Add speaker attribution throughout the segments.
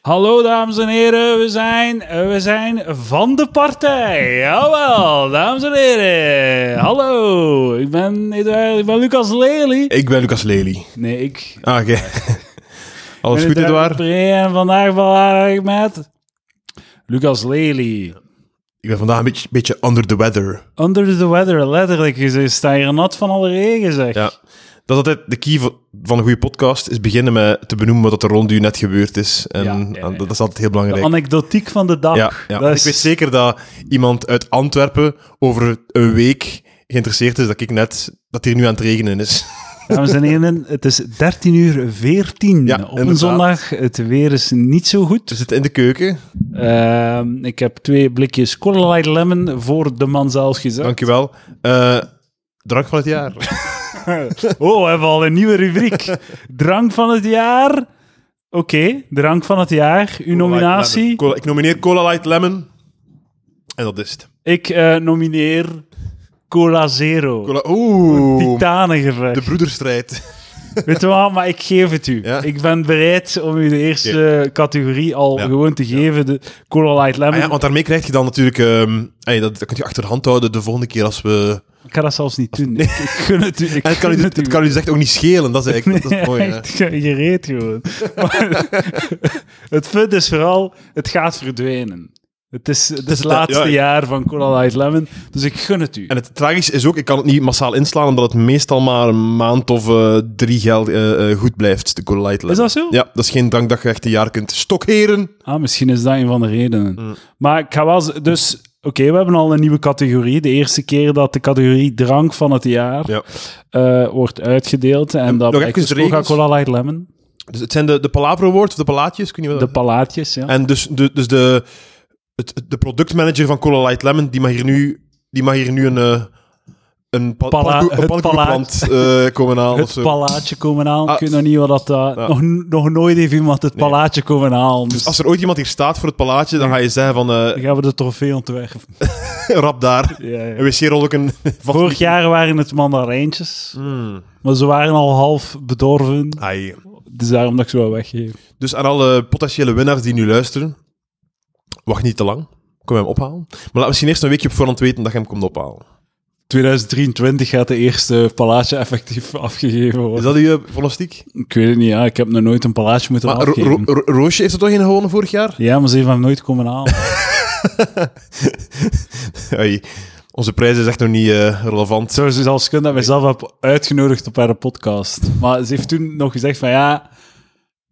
Speaker 1: Hallo dames en heren, we zijn, eh, we zijn van de partij. Jawel, dames en heren. Hallo, ik ben, Eduard- ik ben Lucas Lely.
Speaker 2: Ik ben Lucas Lely.
Speaker 1: Nee, ik.
Speaker 2: Ah, oké. Alles
Speaker 1: ben
Speaker 2: goed,
Speaker 1: Eduard
Speaker 2: Edouard?
Speaker 1: Pre En vandaag ben ik met Lucas Lely.
Speaker 2: Ik ben vandaag een beetje, beetje under the weather.
Speaker 1: Under the weather, letterlijk. Je staat hier nat van alle regen, zeg.
Speaker 2: Ja. Dat is altijd de key van- van een goede podcast, is beginnen met te benoemen wat er rond u net gebeurd is. En,
Speaker 1: Ja, ja, ja.
Speaker 2: en dat is altijd heel
Speaker 1: De
Speaker 2: belangrijk.
Speaker 1: anekdotiek van de dag. Dus,
Speaker 2: Ja, ja.
Speaker 1: Dat
Speaker 2: Ik
Speaker 1: is-
Speaker 2: weet zeker dat iemand uit Antwerpen over een week geïnteresseerd is dat ik net, dat hier nu aan het regenen is.
Speaker 1: Dames en heren, het is 13 uur 14
Speaker 2: Ja,
Speaker 1: op een
Speaker 2: inderdaad.
Speaker 1: zondag. Het weer is niet zo goed.
Speaker 2: We zitten in de keuken.
Speaker 1: Ehm, ik heb twee blikjes Cola Light Lemon voor de man zelf gezet.
Speaker 2: Dankjewel. Eh drank van het jaar.
Speaker 1: Oh, we hebben al een nieuwe rubriek. Drank van het jaar. Oké, drank van het jaar. Uw nominatie.
Speaker 2: Cola- ik nomineer Cola Light Lemon. En dat is het.
Speaker 1: Ik eh, nomineer Cola Zero.
Speaker 2: Cola... Oeh,
Speaker 1: Titanengevecht.
Speaker 2: de broederstrijd. Ah
Speaker 1: Weet je wat, maar ik geef het u.
Speaker 2: Ja?
Speaker 1: Ik ben bereid om u de eerste categorie al
Speaker 2: Ja.
Speaker 1: gewoon te geven. De Cola Light Lemon.
Speaker 2: Ah ja, want daarmee krijg je dan natuurlijk... ehm, ey, dat, dat kunt je achter de hand houden de volgende keer als we...
Speaker 1: Ik ga dat zelfs niet doen. Ik, ik gun het u. Ik
Speaker 2: En het kan,
Speaker 1: gun
Speaker 2: u,
Speaker 1: het u.
Speaker 2: het kan u dus echt ook niet schelen. Dat is eigenlijk dat is
Speaker 1: Ja,
Speaker 2: het mooie. hè.
Speaker 1: echt, je reed gewoon. Maar het punt is vooral, het gaat verdwenen. Het is het, is
Speaker 2: het,
Speaker 1: het laatste
Speaker 2: ja, ik-
Speaker 1: jaar van Cola Light Lemon, dus ik gun het u.
Speaker 2: En het tragische is ook, ik kan het niet massaal inslaan, omdat het meestal maar een maand of eh, drie geld eh, eh, goed blijft, de Cola Light Lemon.
Speaker 1: Is dat zo?
Speaker 2: Ja, dat is geen drank dat je echt een jaar kunt stokheren.
Speaker 1: Ah, misschien is dat een van de redenen.
Speaker 2: Mm.
Speaker 1: Maar ik ga wel... z- Dus, oké, we hebben al een nieuwe categorie. De eerste keer dat de categorie drank van het jaar
Speaker 2: Ja.
Speaker 1: eh, wordt uitgedeeld. En dat
Speaker 2: nog
Speaker 1: blijkt
Speaker 2: even de
Speaker 1: dus
Speaker 2: regels.
Speaker 1: Coca-Cola Light Lemon.
Speaker 2: Dus het zijn de, de Palabra Awards, of de Palaatjes, kun je wel...
Speaker 1: De palaatjes, ja.
Speaker 2: Eh, en dus, de, dus de, het, het- de productmanager van Cola Light Lemon, die mag hier nu, die mag hier nu een... eh, een pa-
Speaker 1: Pala-
Speaker 2: pannenkoek-
Speaker 1: het
Speaker 2: een pannenkoekenplant eh, komen halen. of
Speaker 1: Het
Speaker 2: zo.
Speaker 1: palaatje komen halen.
Speaker 2: Ah,
Speaker 1: ik weet nog niet wat dat... eh,
Speaker 2: ja.
Speaker 1: nog, nog nooit heeft iemand het
Speaker 2: Nee.
Speaker 1: palaatje komen halen. Dus,
Speaker 2: Dus als er ooit iemand hier staat voor het palaatje, dan ga je zeggen van
Speaker 1: dan
Speaker 2: eh
Speaker 1: gaan we de trofee ontwerpen.
Speaker 2: rap daar.
Speaker 1: Ja, ja.
Speaker 2: Een wc-rolken. van-
Speaker 1: Vorig jaar waren het mandarijntjes,
Speaker 2: Hmm.
Speaker 1: maar ze waren al half bedorven.
Speaker 2: Ai.
Speaker 1: Dus daarom dat ik ze wel weggeef.
Speaker 2: Dus aan alle potentiële winnaars die nu luisteren, wacht niet te lang. Kom hem ophalen. Maar laat misschien eerst een weekje op voorhand weten dat je hem komt ophalen.
Speaker 1: 2023 gaat de eerste palaatje effectief afgegeven
Speaker 2: Is
Speaker 1: worden.
Speaker 2: dat uw eh, pronostiek?
Speaker 1: Ik weet het niet, ja. Ik heb nog nooit een palaatje moeten
Speaker 2: Maar Ro-
Speaker 1: afgeven.
Speaker 2: Ro- Ro- Roosje heeft er toch een gewonnen vorig jaar?
Speaker 1: ja, maar ze heeft hem nooit komen halen.
Speaker 2: Ai. Onze prijs is echt nog niet eh, relevant.
Speaker 1: Zo is als kunnen dat wij zelf hebben uitgenodigd op haar podcast. Maar ze heeft toen nog gezegd van ja...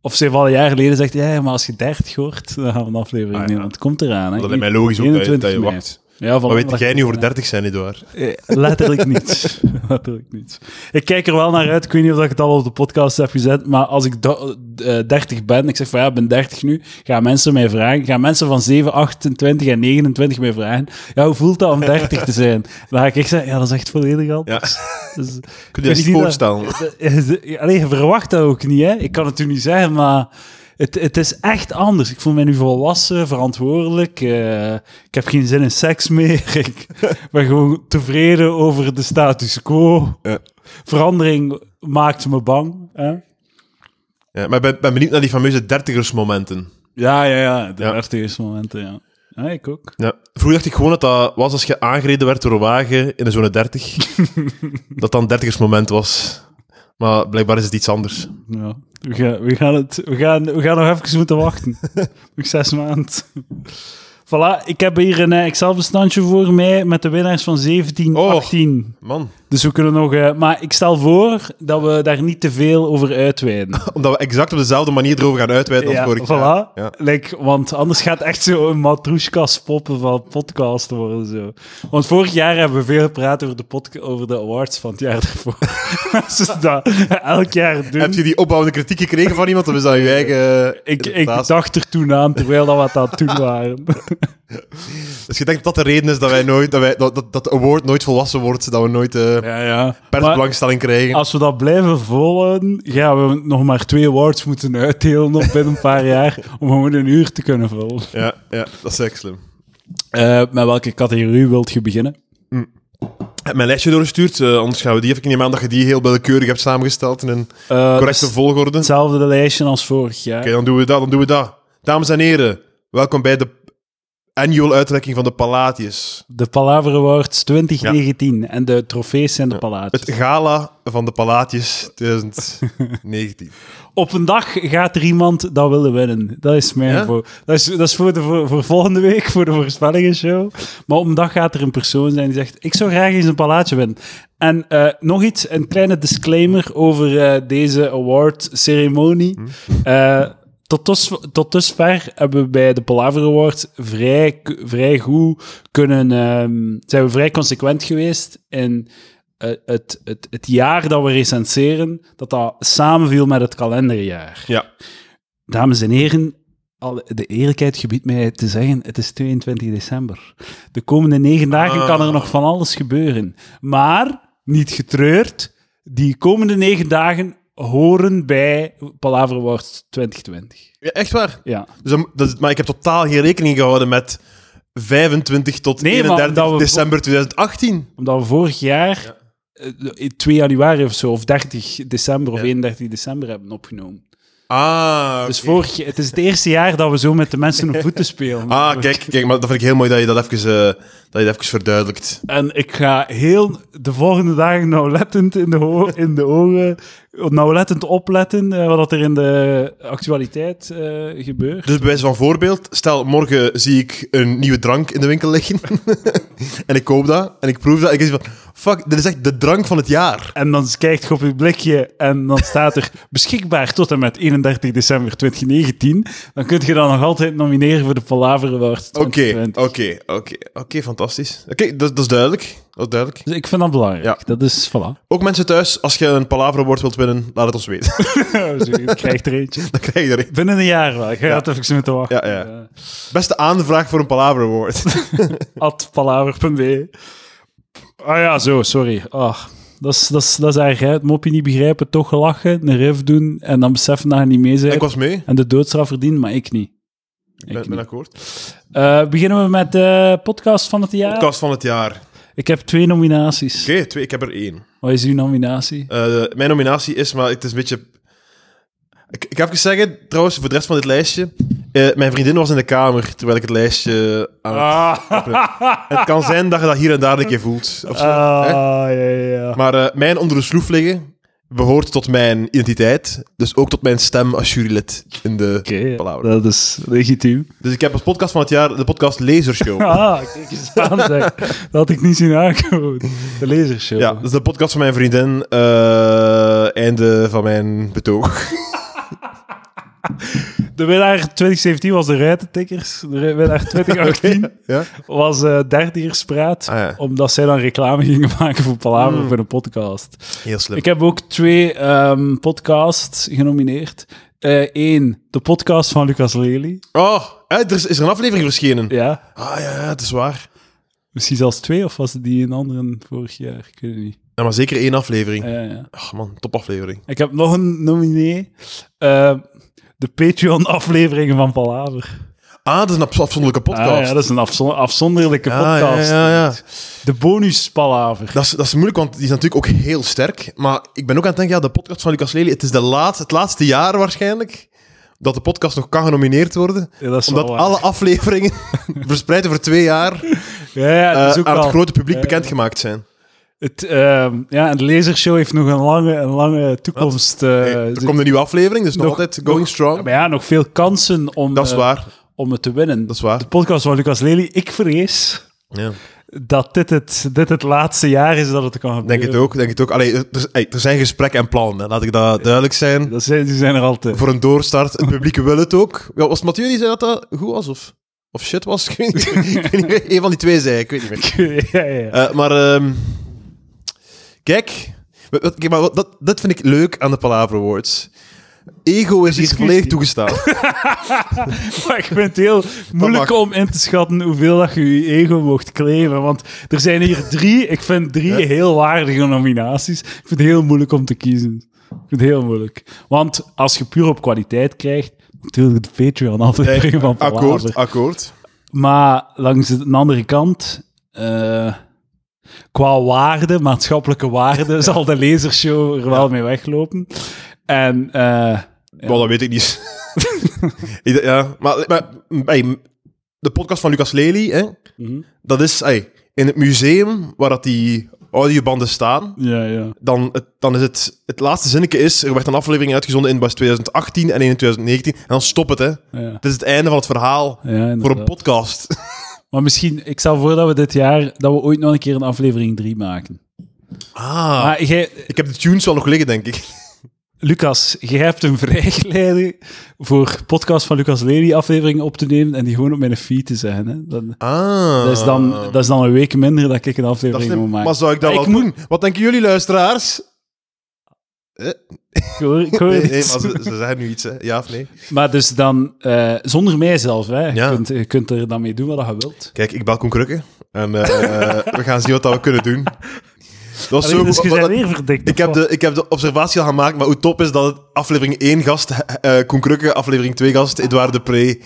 Speaker 1: Of ze heeft al een jaar geleden gezegd, ja, maar als je 30 hoort, dan gaan we een aflevering
Speaker 2: Ah, ja.
Speaker 1: nemen. Want het komt eraan, hè.
Speaker 2: Dat lijkt mij logisch ook dat je,
Speaker 1: 21
Speaker 2: dat je
Speaker 1: mei.
Speaker 2: wacht.
Speaker 1: Ja, van
Speaker 2: Maar weet jij nu over 30 zijn, Edouard?
Speaker 1: Eh, Letterlijk niet. Letterlijk niet. Ik kijk er wel naar uit. Ik weet niet of ik het al op de podcast heb gezet. Maar als ik da- eh, 30 ben, ik zeg van ja, ik ben 30 nu. Gaan mensen mij vragen. Gaan mensen van 7, 28 en 29 mij vragen. Ja, hoe voelt dat om 30 te zijn? Dan ga ik echt zeggen, ja, dat is echt volledig al.
Speaker 2: Ja.
Speaker 1: Dus,
Speaker 2: Kun je je dat niet voorstellen?
Speaker 1: Alleen, je verwacht dat ook niet, hè? Ik kan het u niet zeggen, maar het, het is echt anders. Ik voel mij nu volwassen, verantwoordelijk. eh, ik heb geen zin in seks meer. Ik ben gewoon tevreden over de status quo.
Speaker 2: Ja.
Speaker 1: Verandering maakt me bang. Hè?
Speaker 2: Ja, maar ik ben, ben benieuwd naar die fameuze dertigersmomenten.
Speaker 1: Ja, ja, ja. De
Speaker 2: Ja.
Speaker 1: eerste momenten, ja. Ja, ik ook.
Speaker 2: Ja. Vroeger dacht ik gewoon dat dat was als je aangereden werd door een wagen in de zone 30. dat dan dertigersmoment was. Maar blijkbaar is het iets anders.
Speaker 1: Ja. We, gaan, we, gaan het, we, gaan, we gaan nog even moeten wachten. nog zes maanden. Voilà, ik heb hier een eh, Excel-bestandje voor mij met de winnaars van 17,
Speaker 2: Oh.
Speaker 1: 18.
Speaker 2: Man,
Speaker 1: Dus we kunnen nog... eh, maar ik stel voor dat we daar niet te veel over uitweiden.
Speaker 2: omdat we exact op dezelfde manier erover gaan uitweiden als
Speaker 1: ja,
Speaker 2: vorig
Speaker 1: voilà.
Speaker 2: jaar. Ja.
Speaker 1: Like, want anders gaat echt zo een matroeskas poppen van podcast worden. Zo. Want vorig jaar hebben we veel gepraat over de, podca- over de awards van het jaar daarvoor. Als ze dat elk jaar doen...
Speaker 2: Heb je die opbouwende kritiek gekregen van iemand of is dat je eigen...
Speaker 1: Ik, ik
Speaker 2: interpretatie?
Speaker 1: dacht er toen aan, terwijl dat we het aan toen waren.
Speaker 2: Dus je denkt dat dat de reden is dat, wij nooit, dat, wij, dat, dat, dat de award nooit volwassen wordt, dat we nooit eh
Speaker 1: Ja, ja. Maar
Speaker 2: persbelangstelling krijgen.
Speaker 1: als we dat blijven volhouden, gaan we nog maar twee awards moeten uitdelen op binnen een paar jaar, om gewoon een uur te kunnen vullen.
Speaker 2: Ja, ja, dat is echt slim.
Speaker 1: Eh, met welke categorie wilt je beginnen?
Speaker 2: Ik heb mijn lijstje doorgestuurd, eh, anders gaan we die even... Ik neem aan dat je die heel willekeurig hebt samengesteld in een
Speaker 1: Eh,
Speaker 2: correcte volgorde.
Speaker 1: Hetzelfde lijstje als vorig jaar.
Speaker 2: Oké, dan doen we dat, dan doen we dat. Dames en heren, welkom bij de annual uitreiking van de Palladius.
Speaker 1: De Palaver Awards 2019. En de trofees zijn de palaatjes.
Speaker 2: Het gala van de Palladius 2019.
Speaker 1: Op een dag gaat er iemand dat willen winnen. Dat is mijn
Speaker 2: Ja?
Speaker 1: voor. Dat is, dat is voor, de, voor, voor volgende week, voor de voorspellingenshow. Maar op een dag gaat er een persoon zijn die zegt: Ik zou graag eens een palaatje winnen. En eh, nog iets, een kleine disclaimer over eh, deze award-ceremonie. Eh, tot, dus, tot dusver hebben we bij de Palaver Awards vrij, k- vrij goed kunnen... ehm, zijn we vrij consequent geweest in eh, het, het, het jaar dat we recenseren, dat dat samenviel met het kalenderjaar.
Speaker 2: Ja,
Speaker 1: Dames en heren, al- de eerlijkheid gebiedt mij te zeggen, het is 22 december. De komende negen dagen kan er nog van alles gebeuren. Maar, niet getreurd, die komende negen dagen horen bij Palaver Awards 2020.
Speaker 2: ja echt waar.
Speaker 1: Ja.
Speaker 2: Dus dan- dat is- maar ik heb totaal geen rekening gehouden met 25 tot
Speaker 1: Nee, maar
Speaker 2: 31
Speaker 1: omdat we-
Speaker 2: december 2018.
Speaker 1: Omdat we vorig jaar eh, 2 januari of zo, of 30 december of
Speaker 2: Ja.
Speaker 1: 31 december hebben opgenomen.
Speaker 2: Ah,
Speaker 1: Dus
Speaker 2: oké.
Speaker 1: vorig, het is het eerste jaar dat we zo met de mensen op voeten spelen.
Speaker 2: Ah, kijk, kijk, maar dat vind ik heel mooi dat je dat even, eh, dat je dat even verduidelijkt.
Speaker 1: En ik ga heel de volgende dagen nauwlettend in de, ho- in de ogen, nauwlettend opletten eh, wat er in de actualiteit eh, gebeurt.
Speaker 2: Dus bij wijze van voorbeeld, stel morgen zie ik een nieuwe drank in de winkel liggen. en ik koop dat en ik proef dat. En ik denk van, fuck, dit is echt de drank van het jaar.
Speaker 1: En dan kijkt je op je blikje en dan staat er beschikbaar tot en met 31 december 2019. Dan kun je dan nog altijd nomineren voor de Palaver Award
Speaker 2: Oké,
Speaker 1: 2020.
Speaker 2: oké, oké, oké, fantastisch. Oké, dat, dat is duidelijk. Dat is duidelijk.
Speaker 1: Dus ik vind dat belangrijk.
Speaker 2: Ja. Oh,
Speaker 1: Dat is, voilà.
Speaker 2: Ook mensen thuis, als je een Palavra woord wilt winnen, laat het ons weten.
Speaker 1: Zo, je krijgt er eentje.
Speaker 2: Dan krijg je er een.
Speaker 1: Binnen een jaar wel. Je gaat even zitten te wachten.
Speaker 2: Ja, ja.
Speaker 1: Eh,
Speaker 2: Beste aanvraag voor een Palavra woord.
Speaker 1: at palaver.be. Ah ja, zo, sorry. Ah, dat, is, dat, is, dat is erg, hè. Het mopje niet begrijpen, toch lachen, een riff doen en dan beseffen dat je niet mee bent.
Speaker 2: ik was mee.
Speaker 1: En de doodstraf verdienen, maar ik niet.
Speaker 2: Ik ben,
Speaker 1: niet.
Speaker 2: ben akkoord.
Speaker 1: Eh, beginnen we met de podcast van het jaar.
Speaker 2: Podcast van het jaar. Oké,
Speaker 1: Ik heb twee nominaties.
Speaker 2: twee, ik heb er één.
Speaker 1: Wat is uw nominatie?
Speaker 2: Eh, mijn nominatie is, maar het is een beetje... Ik, ik ga even zeggen, trouwens, voor de rest van dit lijstje... eh, mijn vriendin was in de kamer terwijl ik het lijstje aan
Speaker 1: Ah.
Speaker 2: het- Het kan zijn dat je dat hier en daar een keer voelt. Of zo, hè?
Speaker 1: Ah, ja, ja, ja.
Speaker 2: Maar eh, mijn onder de sloef liggen behoort tot mijn identiteit. Dus ook tot mijn stem als jurylid in de
Speaker 1: Oké,
Speaker 2: Palaver.
Speaker 1: dat is legitiem.
Speaker 2: Dus ik heb als podcast van het jaar de podcast Lasershow.
Speaker 1: Ah, kijk eens aan, zeg. Dat had ik niet zien aankomen. De lezershow.
Speaker 2: Ja, dat is de podcast van mijn vriendin. eh, einde van mijn betoog.
Speaker 1: De winnaar 2017 was de Ruitentikkers. De ru- winnaar 2018
Speaker 2: Ja?
Speaker 1: was eh Dertigerspraat.
Speaker 2: Ah, ja. Mm.
Speaker 1: Omdat zij dan reclame gingen maken voor Palaver voor een podcast.
Speaker 2: Heel slim.
Speaker 1: Ik heb ook twee ehm, podcasts genomineerd. Eén, de podcast van Lucas Lely.
Speaker 2: Oh, hè, er is, is er een aflevering verschenen?
Speaker 1: Ja,
Speaker 2: Ah ja, ja, het is waar.
Speaker 1: misschien zelfs twee, of was het die een andere vorig jaar? Ik weet het niet.
Speaker 2: Ja, maar zeker één aflevering.
Speaker 1: Ja, ja.
Speaker 2: Ach man, topaflevering.
Speaker 1: Ik heb nog een nominee. Eh, de Patreon-afleveringen van Palaver.
Speaker 2: Ah, dat is een abs- afzonderlijke podcast.
Speaker 1: Ah, ja, dat is een afzon- afzonderlijke
Speaker 2: Ah, ja,
Speaker 1: podcast.
Speaker 2: ja, ja.
Speaker 1: De bonus-Palaver.
Speaker 2: Dat is, dat is moeilijk, want die is natuurlijk ook heel sterk. Maar ik ben ook aan het denken, ja, de podcast van Lucas Lely, het is de laatste, het laatste jaar waarschijnlijk dat de podcast nog kan genomineerd worden.
Speaker 1: Ja, dat is
Speaker 2: omdat
Speaker 1: wel waar.
Speaker 2: alle afleveringen verspreid over twee jaar
Speaker 1: Ja, ja,
Speaker 2: eh,
Speaker 1: dat is ook
Speaker 2: aan het
Speaker 1: al-
Speaker 2: grote publiek
Speaker 1: eh,
Speaker 2: bekendgemaakt zijn.
Speaker 1: Het, ehm, ja, en de lasershow heeft nog een lange, een lange toekomst. eh,
Speaker 2: Hey, er
Speaker 1: zit-
Speaker 2: komt een nieuwe aflevering, dus nog,
Speaker 1: nog-
Speaker 2: altijd going strong.
Speaker 1: maar ja, nog veel kansen om,
Speaker 2: dat is
Speaker 1: eh,
Speaker 2: waar,
Speaker 1: om het te winnen.
Speaker 2: dat is waar.
Speaker 1: De podcast van Lucas Lely, ik vrees
Speaker 2: Ja.
Speaker 1: dat dit het, dit het laatste jaar is dat het kan gebeuren.
Speaker 2: Denk het ook, denk het ook. Allee, er, er- hey, er zijn gesprekken en plannen, hè. laat ik dat duidelijk zijn.
Speaker 1: Dat zijn, die zijn er altijd.
Speaker 2: Voor een doorstart, het publiek wil het ook. Ja, was het Mathieu die zei dat dat goed was, of, of shit was? Ik weet niet, ik weet niet meer. Een van die twee zei, ik weet niet meer.
Speaker 1: ja, ja.
Speaker 2: Eh, maar ehm, kijk, wat- wat- kijk maar wat- dat, dat vind ik leuk aan de Palaver Awards. Ego is hier
Speaker 1: Discussie.
Speaker 2: volledig toegestaan.
Speaker 1: Maar ik vind het heel moeilijk
Speaker 2: mag.
Speaker 1: om in te schatten hoeveel dat je je ego mocht claimen. Want er zijn hier drie, ik vind drie heel waardige nominaties. Ik vind het heel moeilijk om te kiezen. Ik vind het heel moeilijk. Want als je puur op kwaliteit krijgt, natuurlijk de Patreon altijd
Speaker 2: Kijk,
Speaker 1: van Palaver.
Speaker 2: akkoord, akkoord.
Speaker 1: Maar langs de andere kant, eh, qua waarde, maatschappelijke waarde, zal de lasershow er wel mee weglopen. En eh,
Speaker 2: Maar dat weet ik niet. Ik- ja, maar, maar hey, de podcast van Lucas Lely, hè,
Speaker 1: Mhm.
Speaker 2: dat is hey, in het museum waar dat die audiobanden staan.
Speaker 1: Ja, ja.
Speaker 2: Dan, het, dan is het, het laatste zinnetje is, er werd een aflevering uitgezonden in Bas 2018 en één in 2019. En dan stop het, hè.
Speaker 1: ja.
Speaker 2: Het is het einde van het verhaal
Speaker 1: Ja,
Speaker 2: voor een
Speaker 1: inderdaad.
Speaker 2: podcast.
Speaker 1: Maar misschien, ik stel voor dat we dit jaar, dat we ooit nog een keer een aflevering 3 maken.
Speaker 2: Ah,
Speaker 1: Maar jij,
Speaker 2: ik heb de tunes wel nog liggen, denk ik.
Speaker 1: Lucas, jij hebt hem vrijgeleide voor podcast van Lucas Lely afleveringen op te nemen en die gewoon op mijn feed te zijn. Hè? Dan,
Speaker 2: Ah.
Speaker 1: dat, is dan, dat is dan een week minder dat ik een
Speaker 2: Dat is
Speaker 1: aflevering
Speaker 2: niet-
Speaker 1: moet maken.
Speaker 2: maar zou ik dat
Speaker 1: Ik
Speaker 2: wel doen? Wat denken jullie, luisteraars?
Speaker 1: Ik hoor, ik hoor
Speaker 2: Nee,
Speaker 1: het.
Speaker 2: nee, maar ze, ze zeggen nu iets, hè? Ja of nee?
Speaker 1: Maar dus dan, eh, zonder mij zelf, hè. Je,
Speaker 2: Ja.
Speaker 1: kunt, je kunt er dan mee doen wat je wilt.
Speaker 2: Kijk, ik bel Koen Krukke en eh, we gaan zien wat dat we kunnen doen. Dat is
Speaker 1: Allee,
Speaker 2: zo,
Speaker 1: dus je
Speaker 2: wat-
Speaker 1: bent
Speaker 2: wat-
Speaker 1: weer verdikt.
Speaker 2: ik, heb de, ik heb de observatie al gemaakt, maar hoe top is dat het aflevering 1 gast eh Koen Krukke, aflevering 2 gast Edouard de Pre.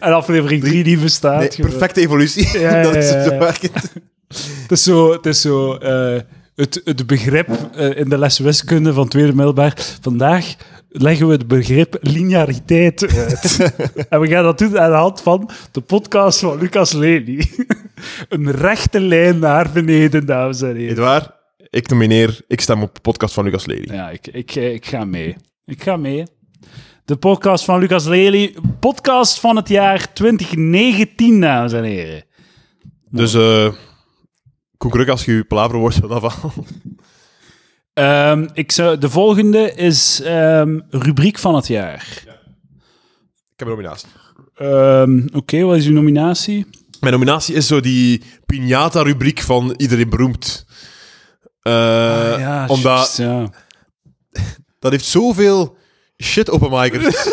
Speaker 1: En aflevering 3 die bestaat.
Speaker 2: Nee,
Speaker 1: gewoon.
Speaker 2: perfecte evolutie.
Speaker 1: Ja, ja,
Speaker 2: dat is
Speaker 1: ja, ja.
Speaker 2: zo werkend.
Speaker 1: Het is zo, het, is zo, eh, het, het begrip eh, in de les wiskunde van tweede middelbaar. Vandaag leggen we het begrip lineariteit uit. en we gaan dat doen aan de hand van de podcast van Lucas Lely. Een rechte lijn naar beneden, dames en heren.
Speaker 2: Edouard, ik nomineer, ik stem op de podcast van Lucas Lely.
Speaker 1: Ja, ik, ik, eh, ik ga mee. Ik ga mee. De podcast van Lucas Lely. Podcast van het jaar 2019, dames en heren.
Speaker 2: Dus eh Koen Krukke, als je je palaver wordt, dan afhaal.
Speaker 1: Ehm, ik zou, de volgende is ehm, rubriek van het jaar.
Speaker 2: Ik heb een nominatie.
Speaker 1: Ehm, Oké, wat is uw nominatie?
Speaker 2: Mijn nominatie is zo die piñata-rubriek van Iedereen Beroemd. Eh, omdat
Speaker 1: juist, Ah, ja.
Speaker 2: dat heeft zoveel shit openmakers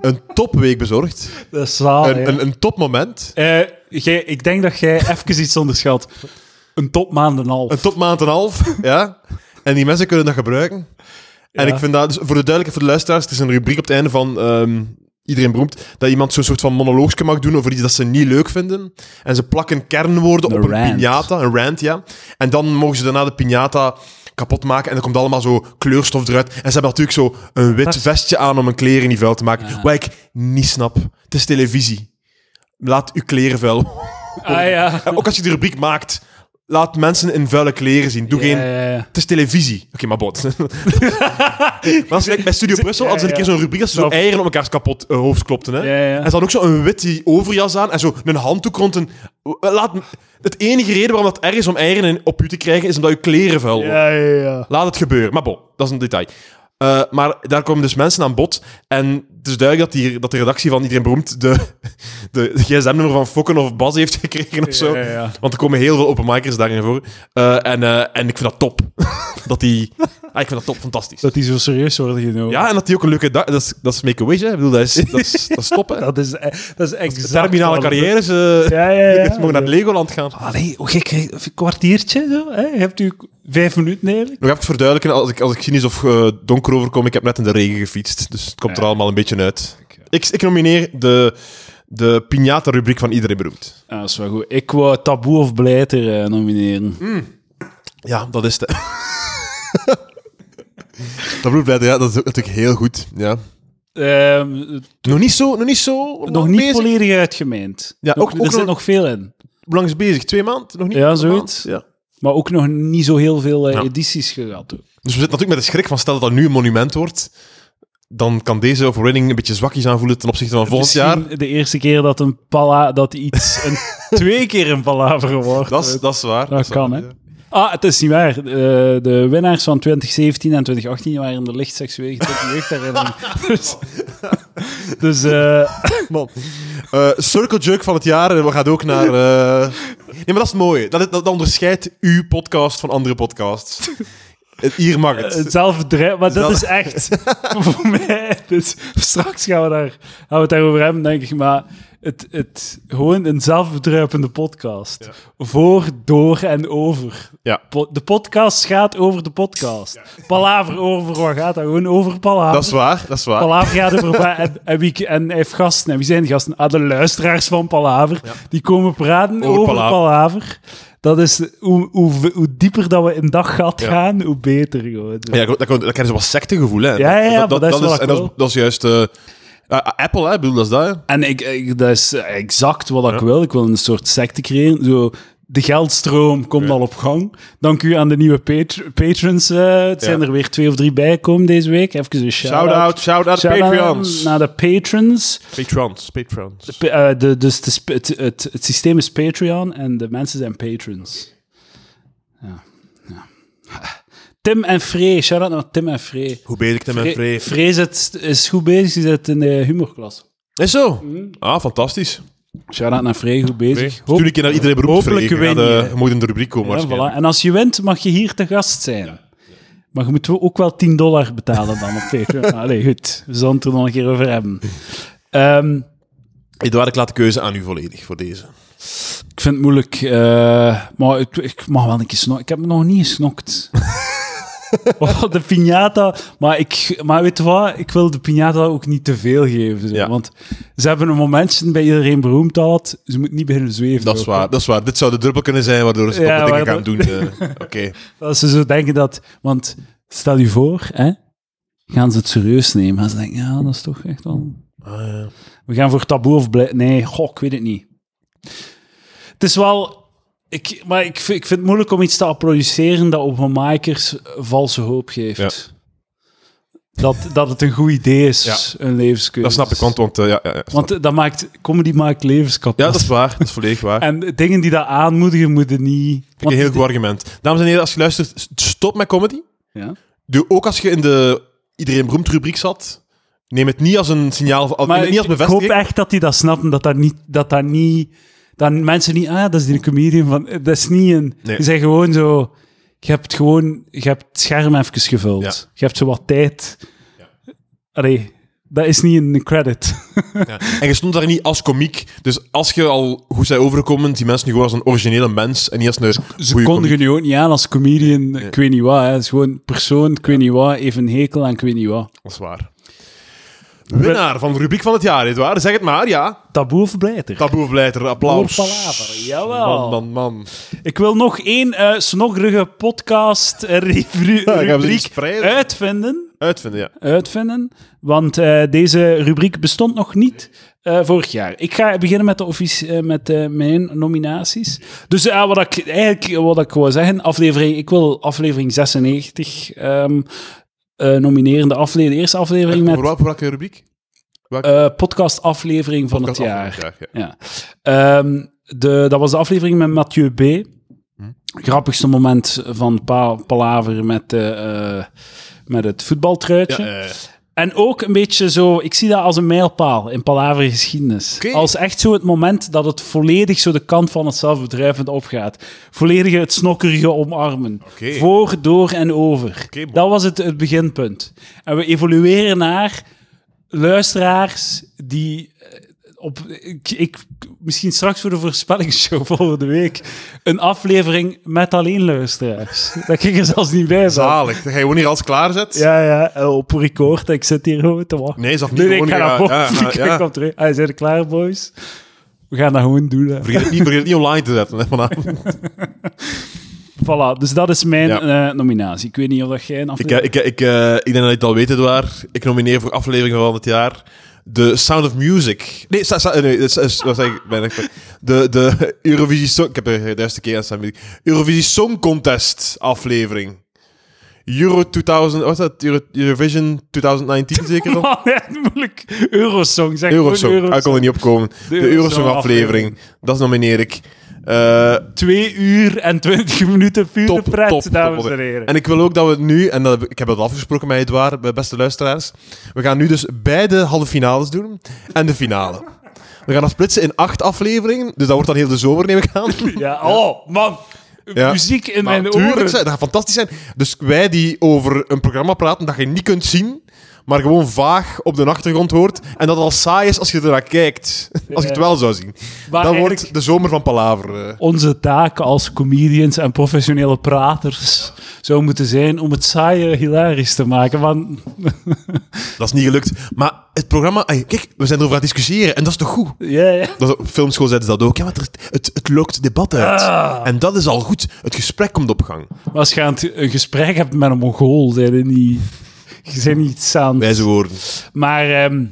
Speaker 2: een topweek bezorgd.
Speaker 1: Dat is zaal,
Speaker 2: een, een, een topmoment.
Speaker 1: Eh, Ik denk dat jij even iets onderschat. Een topmaand en half.
Speaker 2: Een topmaand en een half. ja. En die mensen kunnen dat gebruiken. En
Speaker 1: Ja.
Speaker 2: ik vind dat, dus voor de duidelijkheid voor de luisteraars, het is een rubriek op het einde van ehm, Iedereen Beroemd, dat iemand zo'n soort van monoloogje mag doen over iets dat ze niet leuk vinden. En ze plakken kernwoorden
Speaker 1: Een
Speaker 2: op een
Speaker 1: rant.
Speaker 2: piñata, een rant, ja. En dan mogen ze daarna de piñata kapot maken en er komt allemaal zo kleurstof eruit. En ze hebben natuurlijk zo een wit
Speaker 1: Dat is-
Speaker 2: vestje aan om hun kleren niet vuil te maken.
Speaker 1: Ja.
Speaker 2: Wat ik niet snap. Het is televisie. Laat uw kleren vuil.
Speaker 1: Ah ja.
Speaker 2: Ja, Eh, ook als je de rubriek maakt, laat mensen in vuile kleren zien. Doe geen...
Speaker 1: Ja, ja, ja.
Speaker 2: Het is televisie. Oké, maar bot. maar als je kijkt bij Studio Brussel hadden ze een
Speaker 1: ja.
Speaker 2: keer zo'n rubriek dat ze zo
Speaker 1: Nou,
Speaker 2: eieren op elkaars kapot eh, hoofd klopten. Hè?
Speaker 1: Ja, ja.
Speaker 2: En ze hadden ook zo'n witte overjas aan en zo een handdoek rond een... Eh, Laat... Het enige reden waarom dat erg is om eieren in- op u te krijgen, is omdat je kleren vuil worden.
Speaker 1: Ja, ja, ja.
Speaker 2: Laat het gebeuren. Maar bon, dat is een detail. Eh, maar daar komen dus mensen aan bod. En het is duidelijk dat, die, dat de redactie van Iedereen Beroemd de, de, de gsm-nummer van Fokken of Bas heeft gekregen of zo.
Speaker 1: Ja, ja, ja.
Speaker 2: Want er komen heel veel openmakers daarin voor. Eh, en, eh, en ik vind dat top. dat die... Ah, ik vind dat top, fantastisch.
Speaker 1: Dat die zo serieus worden genomen.
Speaker 2: Ja, en dat die ook een leuke... dag- Dat is, dat is make-a-wish, hè. Ik bedoel, dat is, dat is, dat is top, hè.
Speaker 1: Dat is, eh, dat is exact...
Speaker 2: Terminale
Speaker 1: wat het-
Speaker 2: carrières. eh
Speaker 1: Ja, ja, ja.
Speaker 2: Ze mogen naar Legoland gaan.
Speaker 1: Allee, hoe gek, hè? een kwartiertje zo, hè? Je hebt u vijf minuten eigenlijk.
Speaker 2: Nog even verduidelijken, als ik, als ik cynisch of eh, donker overkom, ik heb net in de regen gefietst, dus het komt er
Speaker 1: Ja.
Speaker 2: allemaal een beetje uit.
Speaker 1: Oké.
Speaker 2: Ik, ik nomineer de, de piñata-rubriek van Iedereen Beroemd.
Speaker 1: Ah, dat is wel goed. Ik wou Taboe of Blijter eh, nomineren.
Speaker 2: Ja, dat is het. dat bedoelt blijven, ja, dat is ook natuurlijk heel goed. Ja.
Speaker 1: Ehm,
Speaker 2: Nog niet zo, nog niet zo.
Speaker 1: nog niet
Speaker 2: bezig.
Speaker 1: volledig uitgemeend.
Speaker 2: Ja,
Speaker 1: Nog-
Speaker 2: ook- ook
Speaker 1: er zit
Speaker 2: nog-
Speaker 1: nog veel in.
Speaker 2: Hoe lang is het bezig? Twee maanden? Nog niet
Speaker 1: Ja,
Speaker 2: een
Speaker 1: zoiets.
Speaker 2: maand? Ja.
Speaker 1: Maar ook nog niet zo heel veel eh,
Speaker 2: Ja.
Speaker 1: edities gehad. ook.
Speaker 2: Dus we zitten natuurlijk met de schrik van stel dat dat nu een monument wordt, dan kan deze overwinning een beetje zwakjes aanvoelen ten opzichte van volgend jaar.
Speaker 1: Misschien de eerste keer dat een pala, dat iets een, twee keer een palaver wordt.
Speaker 2: Dat is, dat is waar.
Speaker 1: Dat
Speaker 2: is
Speaker 1: kan,
Speaker 2: waar,
Speaker 1: hè.
Speaker 2: ja.
Speaker 1: Ah, het is niet waar. Eh, de winnaars van 2017 en 2018 waren de licht seksueel getrokken jeugdherinnering. dus dus eh,
Speaker 2: Man. Eh, Circle Jerk van het jaar. eh, We gaan ook naar. eh, Nee, maar dat is het mooie. Dat, dat, dat onderscheidt uw podcast van andere podcasts. Eh, Hier mag het.
Speaker 1: hetzelfde drijf, maar dat
Speaker 2: Zelf-
Speaker 1: is echt voor mij. Dus straks gaan we, daar, gaan we het daarover hebben, denk ik. Maar het, het, gewoon een zelfbedruipende podcast. Voor, door en over.
Speaker 2: Ja.
Speaker 1: Po- de podcast gaat over de podcast. Palaver over, wat gaat dat? Gewoon over Palaver.
Speaker 2: Dat is waar, dat is waar.
Speaker 1: Palaver gaat over va- en, en, wie, en hij heeft gasten. En wie zijn die gasten? Ah, de luisteraars van Palaver. Die komen praten
Speaker 2: Over
Speaker 1: over,
Speaker 2: Palaver.
Speaker 1: Palaver. Dat is hoe, hoe, hoe dieper dat we in dat gat
Speaker 2: Ja.
Speaker 1: gaan, hoe beter. Gewoon.
Speaker 2: Ja, dat, dat, dat krijgen ze wat sectegevoel, hè.
Speaker 1: Ja, ja, ja, maar dat is wel
Speaker 2: en dat,
Speaker 1: cool.
Speaker 2: dat is juist eh, Eh, Apple, hè? Ik bedoel, dat is dat. hè.
Speaker 1: En ik, ik- dat is exact wat ik wil. Ik wil een soort secte creëren. Zo, de geldstroom komt al op gang. Dank u aan de nieuwe pat- patrons. eh, het zijn er weer twee of drie bijgekomen deze week. Even een shout-out.
Speaker 2: Shout-out, shout-out
Speaker 1: Shout-out
Speaker 2: Patreons.
Speaker 1: Naar de patrons.
Speaker 2: Patrons, patrons.
Speaker 1: P- eh, de, dus de sp- het, het, het systeem is Patreon en de mensen zijn patrons. Ja. ja. Tim en Free. Shout-out naar Tim en Free.
Speaker 2: Hoe bezig ik met
Speaker 1: Free,
Speaker 2: Free?
Speaker 1: Free zit, is goed bezig. Die zit in de humorklas.
Speaker 2: Is zo? Ah, fantastisch.
Speaker 1: Shout-out naar Free. Goed bezig. Hoop-
Speaker 2: Stuur een keer naar iedere beroep,
Speaker 1: hopelijk
Speaker 2: Free. Je gaat,
Speaker 1: win je.
Speaker 2: eh, je moet in de rubriek komen,
Speaker 1: Ja,
Speaker 2: waarschijnlijk.
Speaker 1: voilà. En als je wint, mag je hier te gast zijn. Maar je moet wel ook wel 10 dollar betalen dan op Patreon. Allee, goed. We zullen het er nog een keer over hebben. Ehm,
Speaker 2: Eduard, ik laat de keuze aan u volledig voor deze.
Speaker 1: ik vind het moeilijk. eh, maar ik, ik mag wel een keer snokken. Ik heb me nog niet gesnokt. Oh, de piñata. Maar, ik, maar weet je wat? Ik wil de piñata ook niet te veel geven. zo.
Speaker 2: Ja.
Speaker 1: Want ze hebben een momentje bij iedereen beroemd al. had. Ze moeten niet beginnen zweven.
Speaker 2: Dat is
Speaker 1: ook.
Speaker 2: waar, dat is waar. Dit zou de druppel kunnen zijn waardoor ze
Speaker 1: Ja,
Speaker 2: ja, dingen
Speaker 1: maar
Speaker 2: gaan doen. eh. Oké.
Speaker 1: Als ze zo denken dat... Want stel je voor, hè, gaan ze het serieus nemen. Gaan ze denken, ja, dat is toch echt wel...
Speaker 2: Ah, ja.
Speaker 1: We gaan voor taboe of blij... Nee, goh, ik weet het niet. Het is wel... Ik, maar ik, vind- ik vind het moeilijk om iets te applaudisseren dat openmakers valse hoop geeft. Dat, dat het een goed idee is,
Speaker 2: Ja.
Speaker 1: een levenskunst.
Speaker 2: Dat snap ik, want... want eh, ja, ja, ja, snap.
Speaker 1: Want eh, dat maakt, comedy maakt levens kapot.
Speaker 2: ja, dat is waar. Dat is volledig waar.
Speaker 1: En dingen die dat aanmoedigen, moeten niet...
Speaker 2: Vind ik een heel
Speaker 1: want-
Speaker 2: goed argument. Dames en heren, als je luistert, st- stop met comedy.
Speaker 1: Ja.
Speaker 2: Doe ook als je in de iedereen beroemd rubriek zat. Neem het niet als een signaal, van- neem
Speaker 1: Maar
Speaker 2: het niet als
Speaker 1: ik, ik hoop
Speaker 2: bevestiging.
Speaker 1: echt dat die dat snappen, dat dat niet... Dat dat niet dat mensen niet... Ah, dat is die comedian van... Dat is niet een...
Speaker 2: Nee.
Speaker 1: Je bent gewoon zo... Je hebt gewoon... Je hebt het scherm even gevuld.
Speaker 2: Ja.
Speaker 1: Je hebt zo wat tijd. Allee, dat is niet een credit.
Speaker 2: Ja. En je stond daar niet als komiek. Dus als je al hoe zij overkomen, die mensen nu gewoon als een originele mens en niet als een
Speaker 1: Ze
Speaker 2: goeie
Speaker 1: kondigen
Speaker 2: komiek.
Speaker 1: je ook niet aan als comedian, ik weet niet wat. Hè. Het is gewoon persoon, ik weet niet wat, even een hekel aan, ik weet niet wat.
Speaker 2: Dat is waar. Winnaar van de rubriek van het jaar, Edouard. Zeg het maar, ja.
Speaker 1: Taboe of blijter?
Speaker 2: Taboe of Blijter, applaus.
Speaker 1: Oh, palaver, jawel.
Speaker 2: Man, man, man.
Speaker 1: Ik wil nog één eh snoggerige podcast eh, revru-
Speaker 2: gaan we die
Speaker 1: rubriek
Speaker 2: spreiden.
Speaker 1: uitvinden.
Speaker 2: Uitvinden, ja.
Speaker 1: uitvinden. Want eh, deze rubriek bestond nog niet eh, vorig jaar. Ik ga beginnen met, de offici- eh, met eh, mijn nominaties. Dus ja, wat ik eigenlijk wat ik wou zeggen, aflevering, ik wil aflevering 96 ehm, eh, nomineren. De, afle- de eerste aflevering
Speaker 2: Voor,
Speaker 1: met
Speaker 2: wel- voor welke rubriek?
Speaker 1: eh podcast aflevering van het jaar.
Speaker 2: Aflevering, ja.
Speaker 1: Ja. Ehm, de, dat was de aflevering met Mathieu B.
Speaker 2: Hm.
Speaker 1: Grappigste moment van pa Palaver met, eh, eh, met het voetbaltruitje.
Speaker 2: Ja, eh,
Speaker 1: En ook een beetje zo, ik zie dat als een mijlpaal in Palaver geschiedenis.
Speaker 2: Oké.
Speaker 1: Als echt zo het moment dat het volledig zo de kant van het zelfbedrijvend opgaat. Volledig het snokkerige omarmen.
Speaker 2: Oké.
Speaker 1: Voor, door en over.
Speaker 2: Oké, bon.
Speaker 1: dat was het, het beginpunt. En we evolueren naar luisteraars die eh, op, ik, ik, misschien straks voor de voorspellingsshow volgende week een aflevering met alleen luisteraars. dat ik er zelfs niet bij zat.
Speaker 2: zalig. Dat je gewoon hier alles klaarzet.
Speaker 1: Ja, ja, eh, op record. Ik zit hier gewoon te wachten.
Speaker 2: Nee, is dat niet
Speaker 1: Nee, nee, ik
Speaker 2: gewoon...
Speaker 1: ga naar
Speaker 2: ja, ja,
Speaker 1: boven.
Speaker 2: ja,
Speaker 1: Ik
Speaker 2: ja.
Speaker 1: kom terug. Hij zijn er klaar, boys. We gaan dat gewoon doen. hè.
Speaker 2: Vergeet het niet, vergeet het niet online te zetten hè, vanavond.
Speaker 1: Voilà, dus dat is mijn
Speaker 2: Ja.
Speaker 1: eh, nominatie. Ik weet niet of dat jij een
Speaker 2: Ik,
Speaker 1: aflevering...
Speaker 2: eh, ik, eh, ik, eh, ik denk dat je het al weet, waar. Ik nomineer voor aflevering van het jaar de Sound of Music. Nee, sta, sta, eh, nee dat is- dat zeg ik bijna. De, de Eurovisie Song... Ik heb er de eerste keer aan staan. weet ik. Eurovisie Song Contest aflevering. Euro 2000... Wat is dat? Euro, Eurovision 2019 zeker dan?
Speaker 1: Man, echt moeilijk. Eurosong, zeg
Speaker 2: Eurosong.
Speaker 1: gewoon
Speaker 2: Ah, ik kon
Speaker 1: Eurosong.
Speaker 2: er niet opkomen. De,
Speaker 1: Eurosong
Speaker 2: Eurosong aflevering. Dat nomineer ik. Eh
Speaker 1: Twee uur en twintig minuten pure
Speaker 2: top,
Speaker 1: pret,
Speaker 2: top, top,
Speaker 1: dames
Speaker 2: top.
Speaker 1: en heren.
Speaker 2: En ik wil ook dat we nu, en dat, heb ik- ik heb dat afgesproken met Edouard, bij beste luisteraars, we gaan nu dus beide halve finales doen en de finale. We gaan dat splitsen in acht afleveringen, dus dat wordt dan heel de zomer, neem ik aan.
Speaker 1: Ja, oh, man.
Speaker 2: Ja.
Speaker 1: Muziek in
Speaker 2: Maar
Speaker 1: mijn
Speaker 2: tuurlijk,
Speaker 1: oren.
Speaker 2: zeg, dat gaat fantastisch zijn. Dus wij die over een programma praten dat je niet kunt zien, maar gewoon vaag op de achtergrond hoort, en dat al saai is als je ernaar kijkt, als je het wel zou zien.
Speaker 1: Maar
Speaker 2: dat
Speaker 1: eigenlijk-
Speaker 2: wordt de zomer van Palaver. eh.
Speaker 1: Onze taak als comedians en professionele praters zou moeten zijn om het saaie hilarisch te maken. Want
Speaker 2: Dat is niet gelukt. Maar het programma... ey, Kijk, we zijn erover aan het discussiëren, en dat is toch goed?
Speaker 1: ja, ja.
Speaker 2: Dat is- op filmschool zeiden ze dat ook. Ja, want er- het, het lokt debat uit.
Speaker 1: Ah.
Speaker 2: En dat is al goed. Het gesprek komt op gang.
Speaker 1: Maar als je aan het- een gesprek hebt met een Mongool, zijn er niet. Je zijn niet aan.
Speaker 2: Wijze woorden.
Speaker 1: Maar ehm,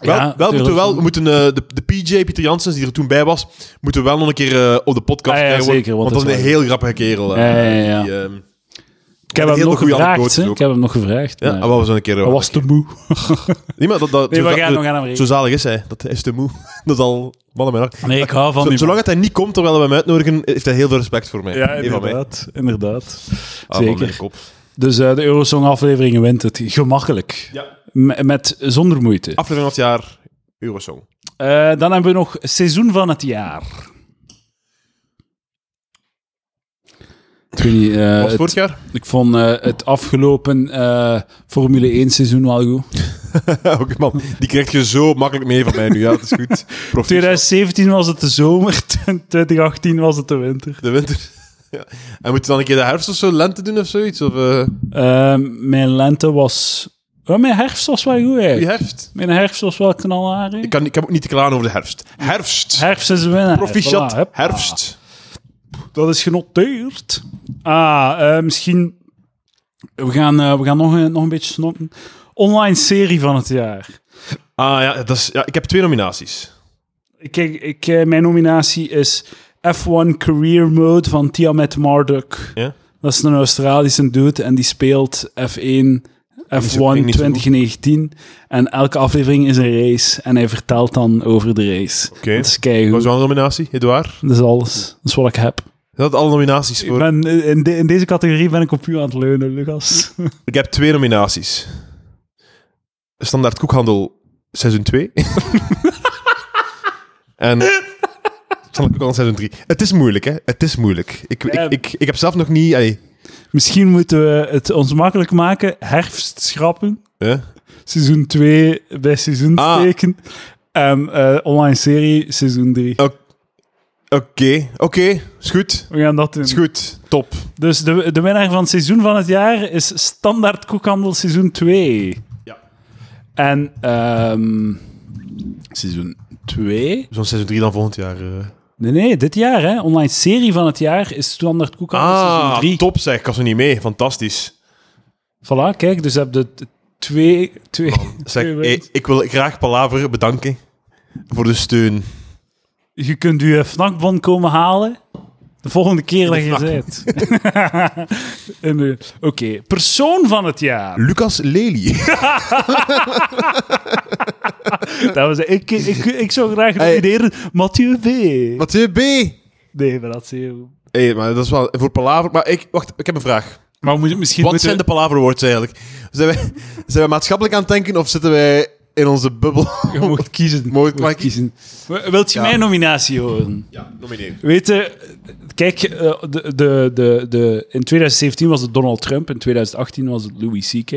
Speaker 2: Wel,
Speaker 1: Ja,
Speaker 2: wel moeten we, wel,
Speaker 1: tuurlijk.
Speaker 2: we moeten, eh, de, de PJ, Pieter Janssens, die er toen bij was, moeten we wel nog een keer eh, op de podcast
Speaker 1: Ah, ja,
Speaker 2: krijgen,
Speaker 1: zeker, want
Speaker 2: Want
Speaker 1: dat
Speaker 2: dat is een
Speaker 1: is
Speaker 2: heel grappige kerel.
Speaker 1: Ja, ja,
Speaker 2: eh,
Speaker 1: ja, ja.
Speaker 2: die, ehm,
Speaker 1: Ik heb hem
Speaker 2: hele
Speaker 1: nog
Speaker 2: goede
Speaker 1: gevraagd,
Speaker 2: anekdotes
Speaker 1: hè.
Speaker 2: ook.
Speaker 1: Ik heb hem nog gevraagd.
Speaker 2: ja, ah,
Speaker 1: maar-
Speaker 2: maar was een keer...
Speaker 1: Hij was te moe.
Speaker 2: Nee, maar dat, dat,
Speaker 1: Nee,
Speaker 2: zo,
Speaker 1: we
Speaker 2: dat-
Speaker 1: gaan nog aan hem rekenen.
Speaker 2: zo zalig is hij. Dat is te moe. Dat is al... Mannen mijn hart.
Speaker 1: Nee, ik hou van
Speaker 2: Zo-
Speaker 1: die
Speaker 2: Zolang
Speaker 1: man.
Speaker 2: dat hij niet komt terwijl we hem uitnodigen, heeft hij heel veel respect voor mij.
Speaker 1: Ja,
Speaker 2: Eén van mij.
Speaker 1: inderdaad. Inderdaad.
Speaker 2: Ah, van mijn
Speaker 1: Zeker.
Speaker 2: kop.
Speaker 1: Dus eh, de Eurosong-aflevering wint het gemakkelijk.
Speaker 2: Ja.
Speaker 1: M- met zonder moeite.
Speaker 2: Aflevering van het jaar, Eurosong.
Speaker 1: Eh, dan hebben we nog seizoen van het jaar. Ik weet niet, eh,
Speaker 2: Was
Speaker 1: het-
Speaker 2: vorig jaar?
Speaker 1: ik vond eh, het afgelopen eh, Formule 1 seizoen wel goed.
Speaker 2: Oké, man. Die krijg je zo makkelijk mee van mij nu. Ja, dat is goed. Proficiat.
Speaker 1: 2017 was het de zomer, 2018 was het de winter.
Speaker 2: De winter. ja. En moeten we dan een keer de herfst of zo, lente doen of zoiets? Of eh,
Speaker 1: Eh, mijn lente was... Oh, mijn herfst was wel goed,
Speaker 2: die
Speaker 1: eigenlijk.
Speaker 2: herfst?
Speaker 1: Mijn herfst was wel knalhaar,
Speaker 2: Ik, kan, ik heb ook niet te klagen over de herfst. Herfst.
Speaker 1: Herfst is winnen.
Speaker 2: Proficiat.
Speaker 1: Voilà, hup.
Speaker 2: herfst.
Speaker 1: Dat is genoteerd. Ah, eh, misschien... We gaan, eh, we gaan nog, een, nog een beetje snotten. Online serie van het jaar.
Speaker 2: Ah ja, dat is, ja, ik heb twee nominaties.
Speaker 1: Kijk, ik, eh, mijn nominatie is F1 Career Mode van Tiamat Marduk.
Speaker 2: Ja?
Speaker 1: Dat is een Australische dude en die speelt F1,
Speaker 2: zo-
Speaker 1: F1
Speaker 2: niet zo goed.
Speaker 1: 2019. En elke aflevering is een race en hij vertelt dan over de race.
Speaker 2: Oké.
Speaker 1: Dat is
Speaker 2: Wat
Speaker 1: keigoed.
Speaker 2: is jouw nominatie, Edouard?
Speaker 1: Dat is alles. Dat is wat ik heb.
Speaker 2: Zijn dat alle nominaties
Speaker 1: Ik
Speaker 2: voor?
Speaker 1: ben, eh, in, de- in deze categorie ben ik op u aan het leunen, Lucas.
Speaker 2: Ik heb twee nominaties. Standaard Koekhandel seizoen 2. en Standaard Koekhandel seizoen 3. Het is moeilijk, hè. Het is moeilijk. Ik,
Speaker 1: Ja.
Speaker 2: ik, ik, ik heb zelf nog niet... ey,
Speaker 1: Misschien moeten we het ons makkelijk maken. Herfst schrappen.
Speaker 2: hè?
Speaker 1: Seizoen 2 bij seizoen
Speaker 2: Ah.
Speaker 1: steken. En eh, online serie seizoen 3.
Speaker 2: Oké, oké. Is goed.
Speaker 1: We gaan dat doen.
Speaker 2: Is goed. Top.
Speaker 1: Dus de, de winnaar van het seizoen van het jaar is Standaard Koekhandel seizoen 2.
Speaker 2: Ja.
Speaker 1: En ehm, seizoen 2?
Speaker 2: Zo'n seizoen 3 dan volgend jaar. eh.
Speaker 1: Nee, nee, dit jaar, hè. Online serie van het jaar is Standaard Koekhandel seizoen
Speaker 2: Ah,
Speaker 1: 3.
Speaker 2: top zeg. Ik was er niet mee. Fantastisch.
Speaker 1: Voilà, kijk, dus heb je de t- twee... twee
Speaker 2: Zeg,
Speaker 1: twee
Speaker 2: ey,
Speaker 1: wins.
Speaker 2: ik wil graag Palaver bedanken voor de steun.
Speaker 1: Je kunt je FNAC-bon komen halen de volgende keer dat
Speaker 2: de
Speaker 1: je
Speaker 2: FNAC.
Speaker 1: zit. In de- Oké, persoon van het jaar.
Speaker 2: Lucas Lely.
Speaker 1: Dat was, ik, ik, ik, ik zou graag
Speaker 2: Hey.
Speaker 1: nomineren Mathieu B.
Speaker 2: Wat B.
Speaker 1: Nee, maar dat is heel...
Speaker 2: Hey, maar dat is wel voor Palaver. Maar ik, wacht, ik heb een vraag.
Speaker 1: Maar moet, misschien
Speaker 2: Wat
Speaker 1: moeten
Speaker 2: zijn de Palaver Awards eigenlijk? Zijn wij, zijn wij maatschappelijk aan het denken of zitten wij in onze bubbel?
Speaker 1: Je mocht kiezen.
Speaker 2: Mooi, mag ik-
Speaker 1: kiezen. W- Wilt je
Speaker 2: Ja.
Speaker 1: mijn nominatie horen?
Speaker 2: Ja, nomineer.
Speaker 1: Weet je, kijk, eh, de, de, de, de, in 2017 was het Donald Trump, in 2018 was het Louis C.K.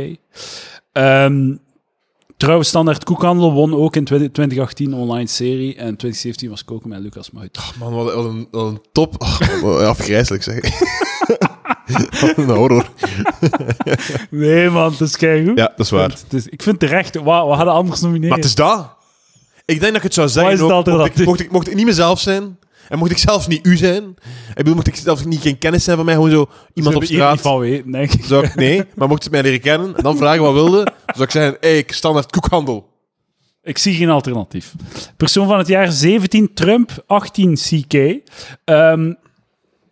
Speaker 1: Ehm trouwens, Standaard Koekhandel won ook in 20- 2018 online serie en 2017 was Koken met Lucas Muit.
Speaker 2: Man, wat, wat een, wat een top. Oh, wat afgrijzelijk zeg. Wat een horror.
Speaker 1: Nee man, dat is keigoed.
Speaker 2: Ja, dat is waar.
Speaker 1: Het is- ik vind terecht, wauw, we hadden anders
Speaker 2: Maar
Speaker 1: nomineren.
Speaker 2: het is dat. Ik denk dat ik het zou zeggen
Speaker 1: Wat is het
Speaker 2: ook, mocht,
Speaker 1: alternatief?
Speaker 2: ik, mocht, ik, mocht ik niet mezelf zijn en mocht ik zelf niet u zijn. Ik bedoel, mocht ik zelf niet geen kennis zijn van mij, gewoon zo
Speaker 1: Ze
Speaker 2: iemand op
Speaker 1: hebben hier niet
Speaker 2: straat.
Speaker 1: van weten, denk ik.
Speaker 2: Zou ik, nee, maar mocht ze mij leren kennen en dan vragen wat wilde, zou ik zeggen, hey, ik standaard koekhandel.
Speaker 1: Ik zie geen alternatief. Persoon van het jaar 17, Trump, 18, CK. Ehm,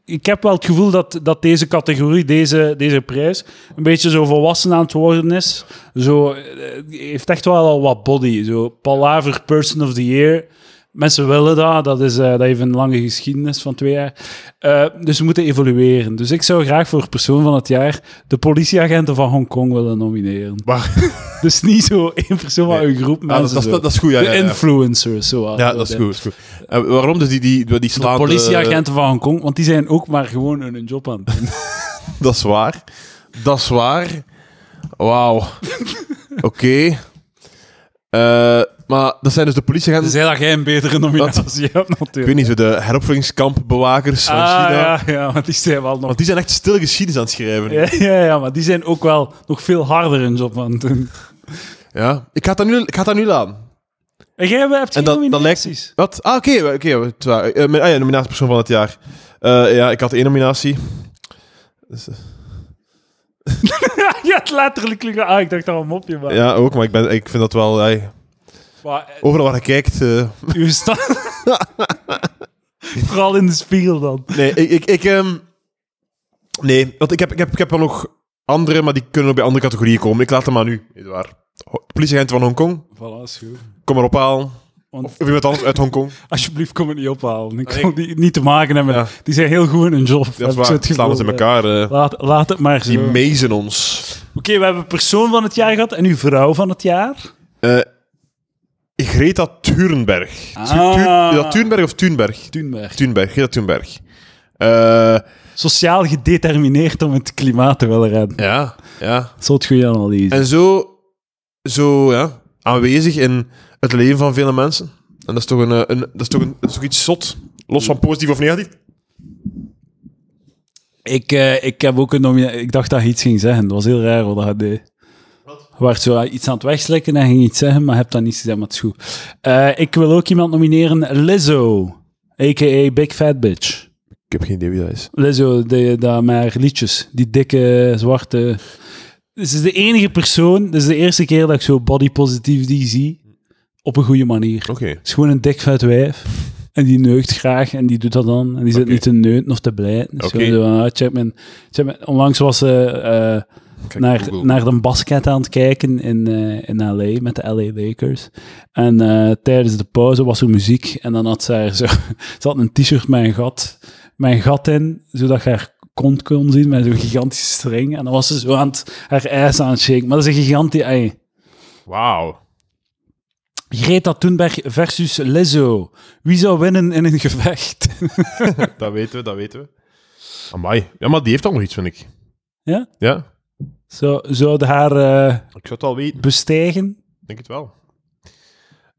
Speaker 1: ik heb wel het gevoel dat, dat deze categorie, deze, deze prijs, een beetje zo volwassen aan het worden is. Zo, eh, heeft echt wel al wat body. Zo, Palaver Person of the Year. Mensen willen dat. Dat, is, eh, dat heeft een lange geschiedenis van twee jaar. Eh, dus we moeten evolueren. Dus ik zou graag voor persoon van het jaar de politieagenten van Hongkong willen nomineren.
Speaker 2: Maar,
Speaker 1: Dus niet zo één persoon maar
Speaker 2: Nee.
Speaker 1: een groep
Speaker 2: Ah, dat,
Speaker 1: mensen.
Speaker 2: dat,
Speaker 1: zo.
Speaker 2: dat, dat is goed, ja. ja,
Speaker 1: de
Speaker 2: ja.
Speaker 1: influencers, zo. wat.
Speaker 2: Ja, dat is goed. Dat is goed. Eh, waarom dus die, die, die
Speaker 1: De
Speaker 2: slaande... eh,
Speaker 1: politieagenten van Hongkong, want die zijn ook maar gewoon hun job aan het doen.
Speaker 2: Dat is waar. Dat is waar. Wauw. Oké. Eh, maar dat zijn dus de politieagenten...
Speaker 1: Dus dat jij een betere nominatie hebt,
Speaker 2: Ik weet
Speaker 1: natuurlijk.
Speaker 2: niet, zo de heropvoedingskampbewakers van
Speaker 1: ah,
Speaker 2: China.
Speaker 1: ja, ja, want die zijn wel nog...
Speaker 2: Want die zijn echt stil geschiedenis aan het schrijven. Ja.
Speaker 1: Ja, ja, ja, maar die zijn ook wel nog veel harder hun job aan het doen.
Speaker 2: Ik ga dat nu, ik ga dat nu laten.
Speaker 1: En jij hebt geen
Speaker 2: En dat, dat
Speaker 1: nominaties.
Speaker 2: lijkt... Wat? Ah, oké. oké, het waar. Eh, mijn- ah ja, nominatiepersoon van het jaar. Eh, ja, ik had één nominatie. Dus, eh,
Speaker 1: Ja, je had letterlijk liggen. Ah, ik dacht dat was een mopje, maar...
Speaker 2: ja, ook. Maar ik, ben, ik vind dat wel... eh,
Speaker 1: Maar, eh,
Speaker 2: Overal waar je kijkt... eh,
Speaker 1: uw sta- Vooral in de spiegel dan.
Speaker 2: Nee, ik... ik, ik ehm, nee, want ik heb, ik, heb, ik heb wel nog andere, maar die kunnen ook bij andere categorieën komen. Ik laat hem aan u, Edouard. Ho- Politieagent van Hongkong,
Speaker 1: Voilà, is goed.
Speaker 2: kom maar ophalen.
Speaker 1: Want-
Speaker 2: Of iemand anders uit Hongkong.
Speaker 1: Alsjeblieft, kom het niet ophalen. Ik
Speaker 2: Nee.
Speaker 1: wil die niet te maken hebben.
Speaker 2: Ja.
Speaker 1: Die zijn heel goed in hun job.
Speaker 2: Dat is
Speaker 1: Heb ik
Speaker 2: waar,
Speaker 1: zo het
Speaker 2: slaan
Speaker 1: gevoel,
Speaker 2: ons in
Speaker 1: ja.
Speaker 2: elkaar. eh.
Speaker 1: Laat, laat het maar
Speaker 2: die
Speaker 1: zo. Oké,
Speaker 2: mezen ons.
Speaker 1: we hebben persoon van het jaar gehad en uw vrouw van het jaar.
Speaker 2: Eh, Greta Thunberg. Tu-
Speaker 1: Ah.
Speaker 2: Thu- Is dat Thunberg of Thunberg?
Speaker 1: Thunberg.
Speaker 2: Thunberg, Greta Thunberg. Eh,
Speaker 1: Sociaal gedetermineerd om het klimaat te willen redden.
Speaker 2: ja, ja.
Speaker 1: Zo het goede analyse.
Speaker 2: En zo, zo ja, aanwezig in het leven van vele mensen. En dat is toch, een, eh, een, dat is toch, een, dat is toch iets zot. Los van positief of negatief.
Speaker 1: Ik, eh, ik heb ook een nomina- Ik dacht dat je iets ging zeggen. Dat was heel raar wat dat deed. Je werd zo iets aan het wegslikken en ging iets zeggen, maar heb dat niet gezegd, maar het is goed. Eh, ik wil ook iemand nomineren. Lizzo, a.k.a. Big Fat Bitch.
Speaker 2: Ik heb geen idee wie dat is.
Speaker 1: Lizzo, de, de, maar liedjes. Die dikke, zwarte... Ze is de enige persoon... Dit is de eerste keer dat ik zo body positivity zie. Op een goede manier.
Speaker 2: Oké.
Speaker 1: Het is gewoon een dik vet wijf. En die neukt graag en die doet dat dan. En die zit
Speaker 2: Oké.
Speaker 1: niet te neuten of te blijten. Dus
Speaker 2: Oké.
Speaker 1: gewoon zo van, ah, check mijn, check mijn- Onlangs was ze eh,
Speaker 2: Kijk,
Speaker 1: naar,
Speaker 2: Google.
Speaker 1: naar de basket aan het kijken in, eh, in LA met de LA Lakers. En eh, tijdens de pauze was er muziek. En dan had ze haar zo. Ze had een t-shirt met een gat, met een gat in, zodat je haar kont kon zien met zo'n gigantische string. En dan was ze zo aan het, haar ijs aan het shaken. Maar dat is een gigantische. ei.
Speaker 2: Wauw.
Speaker 1: Greta Thunberg versus Lizzo. Wie zou winnen in een gevecht?
Speaker 2: Dat weten we, dat weten we. Amai. Ja, maar die heeft ook nog iets, vind ik.
Speaker 1: Ja?
Speaker 2: Ja.
Speaker 1: Zou, zou de haar eh,
Speaker 2: Ik zou het al weten.
Speaker 1: bestijgen?
Speaker 2: Ik denk het wel.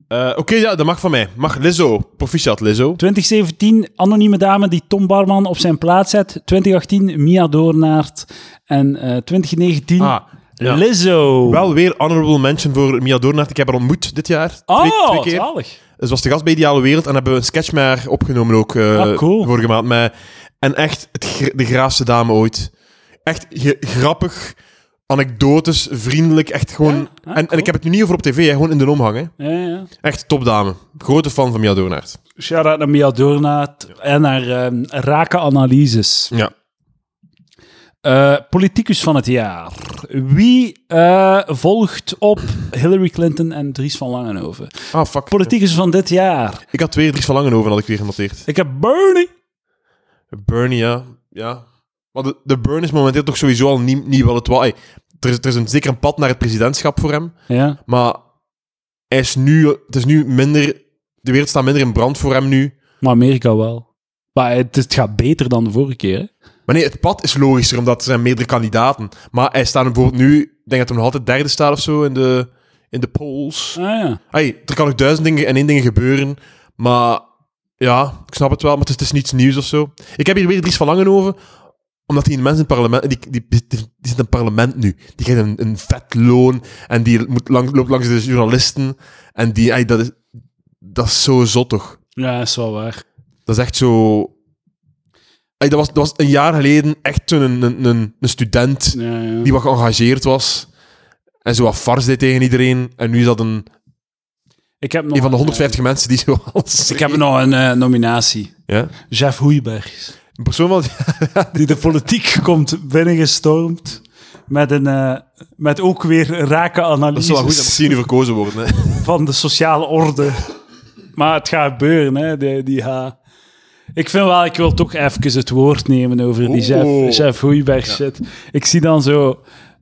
Speaker 2: Eh, Oké, ja, dat mag van mij. Mag Lizzo. Proficiat, Lizzo.
Speaker 1: 2017, anonieme dame die Tom Barman op zijn plaats zet. 2018, Mia Doornaert. En eh, 2019,
Speaker 2: Ah, ja.
Speaker 1: Lizzo.
Speaker 2: Wel weer honorable mention voor Mia Doornaert. Ik heb haar ontmoet dit jaar. Twee,
Speaker 1: oh,
Speaker 2: twee keer.
Speaker 1: zalig.
Speaker 2: Ze was de gast bij Ideale Wereld en hebben we een sketch met haar opgenomen ook. eh,
Speaker 1: Ah, cool.
Speaker 2: Vorige maand. Met, en echt het, gr- de graafste dame ooit. Echt ge- grappig, anekdotes, vriendelijk. Echt gewoon...
Speaker 1: Ah,
Speaker 2: en, en
Speaker 1: cool.
Speaker 2: ik heb het nu niet over op tv, hè, gewoon in de omhang. Hè.
Speaker 1: Ja, ja.
Speaker 2: Echt topdame. Grote fan van Mia Doornaert.
Speaker 1: Shout-out naar Mia Doornaert en haar ehm, rake analyses.
Speaker 2: Ja.
Speaker 1: Eh, politicus van het jaar. Wie eh, volgt op Hillary Clinton en Dries van Langenhoven?
Speaker 2: Ah, fuck.
Speaker 1: Politicus van dit jaar.
Speaker 2: Ik had weer Dries van Langenhoven, had ik weer genoteerd.
Speaker 1: Ik heb Bernie.
Speaker 2: Burn, ja. ja. Maar de, de burn is momenteel toch sowieso al niet, niet wel het wat. Ey, Er is, er is een, zeker een pad naar het presidentschap voor hem.
Speaker 1: Ja.
Speaker 2: Maar hij is nu, het is nu minder. De wereld staat minder in brand voor hem nu.
Speaker 1: Maar Amerika wel. Maar het, het gaat beter dan de vorige keer. hè?
Speaker 2: Maar nee, het pad is logischer, omdat er zijn meerdere kandidaten. Maar hij staat bijvoorbeeld nu, ik denk dat hij nog altijd derde staat of zo in de, in de polls.
Speaker 1: Ah ja.
Speaker 2: Ey, er kan nog duizend dingen en één dingen gebeuren. Maar ja, ik snap het wel, maar het is, het is niets nieuws of zo. Ik heb hier weer Dries van Langenhoven, omdat die mensen in het parlement... Die, die, die, die zit in het parlement nu. Die krijgt een, een vet loon en die moet lang, loopt langs de journalisten. En die, ey, dat, is, dat is zo zot, toch?
Speaker 1: Ja, is wel waar.
Speaker 2: Dat is echt zo... Ey, dat, was, dat was een jaar geleden echt zo'n een, een, een, een student
Speaker 1: Ja, ja.
Speaker 2: die wat geëngageerd was. En zo wat fars deed tegen iedereen. En nu is dat een,
Speaker 1: Ik heb nog,
Speaker 2: een van de 150 mensen die zo alles...
Speaker 1: Ik heb nog een eh, nominatie.
Speaker 2: Ja?
Speaker 1: Jeff Hoeibergs.
Speaker 2: Een persoon van...
Speaker 1: Die de politiek komt binnengestormd. Met, een, eh, met ook weer rake
Speaker 2: Dat is wel goed, dat
Speaker 1: analyses
Speaker 2: moet hier nu verkozen worden. Hè.
Speaker 1: van de sociale orde. Maar het gaat gebeuren, hè. Die, die gaat... Ik vind wel, ik wil toch even het woord nemen over die
Speaker 2: Oeh.
Speaker 1: Jeff, Jeff Hoeiberg shit. Ik zie dan zo,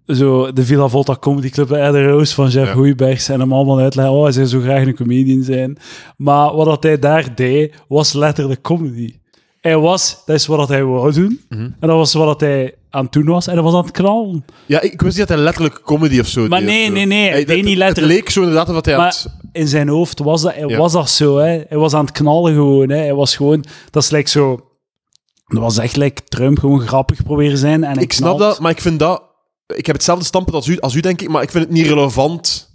Speaker 1: zo de Villa Volta Comedy Club bij de Roos van Jeff
Speaker 2: Ja.
Speaker 1: Hoeibergs en hem allemaal uitleggen, oh, hij zou zo graag een comedian zijn. Maar wat dat hij daar deed, was letterlijk comedy. Hij was, dat is wat dat hij wou doen. En dat was wat dat hij aan het doen was. En dat was aan het knallen.
Speaker 2: Ja, ik wist niet dat hij letterlijk comedy of zo
Speaker 1: Maar
Speaker 2: deed.
Speaker 1: nee,
Speaker 2: of zo.
Speaker 1: nee, nee,
Speaker 2: Hij-
Speaker 1: ik deed
Speaker 2: dat-
Speaker 1: niet
Speaker 2: het-
Speaker 1: letterlijk.
Speaker 2: Het leek zo inderdaad wat hij
Speaker 1: Maar
Speaker 2: had...
Speaker 1: in zijn hoofd was dat, hij
Speaker 2: Ja.
Speaker 1: was dat zo. Hè. Hij was aan het knallen gewoon. Hè. Hij was gewoon... Dat is like zo... Dat was echt like Trump gewoon grappig proberen zijn. En hij
Speaker 2: Ik snap
Speaker 1: knalt.
Speaker 2: dat, maar ik vind dat... Ik heb hetzelfde standpunt als u, als u, denk ik, maar ik vind het niet relevant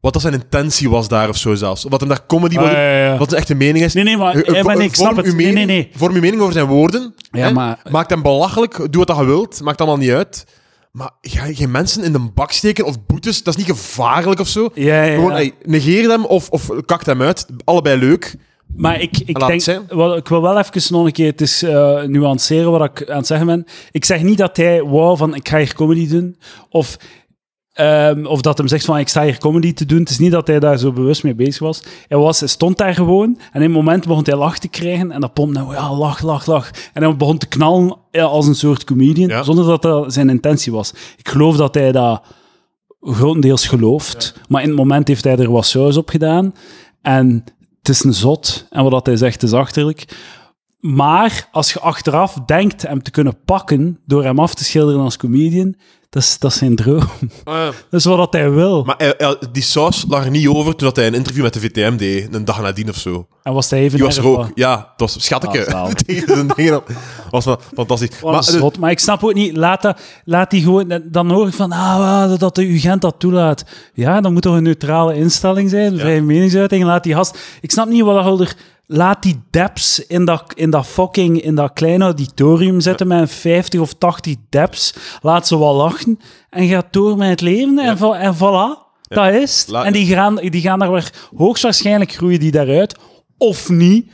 Speaker 2: wat dat zijn intentie was daar of zo zelfs. Wat hem daar comedy...
Speaker 1: Ah,
Speaker 2: wat,
Speaker 1: ja, ja, ja.
Speaker 2: wat zijn echte mening is.
Speaker 1: Nee, nee, maar,
Speaker 2: Eh, eh,
Speaker 1: eh, maar
Speaker 2: vo-
Speaker 1: nee, ik snap
Speaker 2: vorm
Speaker 1: het.
Speaker 2: uw
Speaker 1: Nee, nee,
Speaker 2: mening-
Speaker 1: nee.
Speaker 2: Vorm uw mening over zijn woorden.
Speaker 1: Ja, maar-
Speaker 2: Maak hem belachelijk, doe wat dat je wilt, maakt allemaal niet uit. Maar ga je geen mensen in een bak steken of boetes? Dat is niet gevaarlijk of zo.
Speaker 1: Ja, ja,
Speaker 2: Gewoon,
Speaker 1: ja.
Speaker 2: ey, negeer hem of, of kakt hem uit. Allebei leuk.
Speaker 1: Maar ik, ik
Speaker 2: Laat
Speaker 1: denk,
Speaker 2: het zijn.
Speaker 1: wel, ik wil wel even nog een keer het is, eh, nuanceren wat ik aan het zeggen ben. Ik zeg niet dat hij wou van ik ga hier comedy doen, of, ehm, of dat hem zegt van ik sta hier comedy te doen. Het is niet dat hij daar zo bewust mee bezig was. Hij, was, hij stond daar gewoon en in een moment begon hij lach te krijgen en dat pompte nou ja, lach, lach, lach. En hij begon te knallen eh, als een soort comedian,
Speaker 2: Ja.
Speaker 1: zonder dat dat zijn intentie was. Ik geloof dat hij dat grotendeels gelooft. Maar in het moment heeft hij er wat saus op gedaan. En het is een zot. En wat dat hij zegt is achterlijk. Maar als je achteraf denkt hem te kunnen pakken door hem af te schilderen als comedian, dat is, dat is zijn droom. Dat is wat dat hij wil.
Speaker 2: Ah Maar hij- hij- die saus lag er niet over toen dat hij een interview met de VTM deed. Een dag nadien of zo.
Speaker 1: en was hij even...
Speaker 2: Die was er
Speaker 1: erg
Speaker 2: ook.
Speaker 1: wat-
Speaker 2: Ja, het was schatteke.
Speaker 1: Ah, zalig.
Speaker 2: Tegen zijn dingen op. was wel fantastisch.
Speaker 1: wat
Speaker 2: Maar, eh,
Speaker 1: een zot. Maar ik snap ook niet, laat, dat, laat die gewoon... Dan hoor ik van, ah, dat de UGent dat toelaat. Ja, dan moet toch een neutrale instelling zijn, vrije meningsuiting, laat die gast... Ik snap niet wat dat er... Laat die deps in dat, in dat fucking, in dat kleine auditorium zitten met 50 of 80 deps. Laat ze wel lachen en gaat door met het leven en, vo- en voilà, dat is het.
Speaker 2: La-
Speaker 1: En die gaan, die gaan daar weer hoogstwaarschijnlijk groeien die daaruit, of niet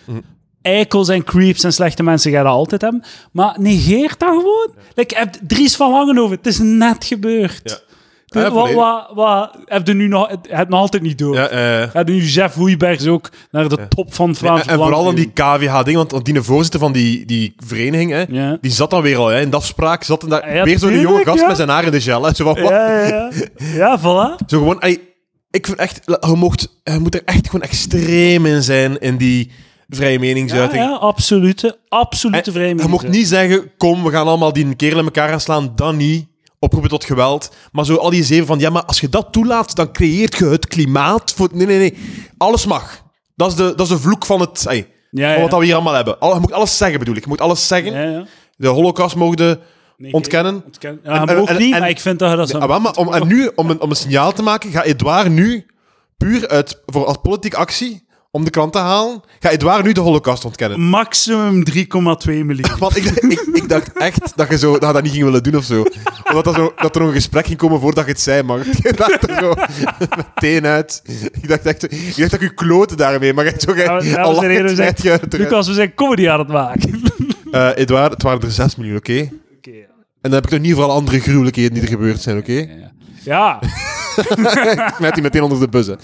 Speaker 1: eikels en creeps en slechte mensen gaan dat altijd hebben. Maar negeer dat gewoon. Like, heb Dries van Langenhoven, het is net gebeurd.
Speaker 2: Ja.
Speaker 1: Dus
Speaker 2: Ja,
Speaker 1: wat,
Speaker 2: volledig.
Speaker 1: wat, wat, heb je nu nog, het, het nog altijd niet door?
Speaker 2: ja, eh,
Speaker 1: Heb je nu Jeff Hoeibergs ook naar de top van
Speaker 2: en,
Speaker 1: Vlaams
Speaker 2: en vooral dan
Speaker 1: Belang
Speaker 2: die KVH-ding, want, want die voorzitter van die, die vereniging, hè,
Speaker 1: Ja.
Speaker 2: die zat dan weer al hè, in de afspraak. Zat dan daar,
Speaker 1: Ja,
Speaker 2: weer zo'n jonge
Speaker 1: tuurlijk,
Speaker 2: gast
Speaker 1: ja.
Speaker 2: met zijn haar in de gel. Hè, zo van, wat?
Speaker 1: Ja, ja, ja. ja, voilà.
Speaker 2: Zo gewoon, ey, ik vind echt, je, mocht, je moet er echt gewoon extreem in zijn in die vrije
Speaker 1: Ja,
Speaker 2: meningsuiting.
Speaker 1: ja, absolute, absolute
Speaker 2: En
Speaker 1: vreemde.
Speaker 2: Eh, je mocht niet zeggen, kom, we gaan allemaal die kerel in elkaar gaan slaan, dan niet. Oproepen tot geweld. Maar zo al die zeven van, ja, maar als je dat toelaat, dan creëert je het klimaat voor... Nee, nee, nee. Alles mag. Dat is de, dat is de vloek van het... ey,
Speaker 1: Ja,
Speaker 2: van
Speaker 1: ja.
Speaker 2: Wat dat we hier allemaal hebben. Al, je moet alles zeggen, bedoel ik. Je moet alles zeggen.
Speaker 1: Ja, ja.
Speaker 2: De holocaust mogen
Speaker 1: Negeren,
Speaker 2: ontkennen.
Speaker 1: ontkennen. Ja,
Speaker 2: en-
Speaker 1: mocht
Speaker 2: en-
Speaker 1: niet,
Speaker 2: en-
Speaker 1: maar ik vind dat je dat zo...
Speaker 2: Ah, wel, maar om, en nu, om een, om een signaal te maken, ga Edouard nu puur uit, voor, als politieke actie om de krant te halen, ga Edouard nu de holocaust ontkennen.
Speaker 1: Maximum 3,2 miljoen.
Speaker 2: Want ik, ik, ik dacht echt dat je, zo, dat je dat niet ging willen doen of zo. Omdat dat, zo, dat er nog een gesprek ging komen voordat je het zei, maar je dacht er zo meteen uit. Ik dacht echt, ik dacht dat je kloten daarmee, maar je hebt zo
Speaker 1: Ja,
Speaker 2: gij,
Speaker 1: dames
Speaker 2: al
Speaker 1: en
Speaker 2: lang
Speaker 1: heren,
Speaker 2: het
Speaker 1: we
Speaker 2: feit
Speaker 1: zijn-
Speaker 2: ge- eruit.
Speaker 1: Lucas, we zijn comedy aan het maken.
Speaker 2: Eh, Edouard, het waren er 6 miljoen, oké?
Speaker 1: Oké, ja.
Speaker 2: En dan heb ik nog niet voor alle andere gruwelijkheden die er gebeurd zijn, oké?
Speaker 1: Ja,
Speaker 2: Ik smijt die meteen onder de bussen.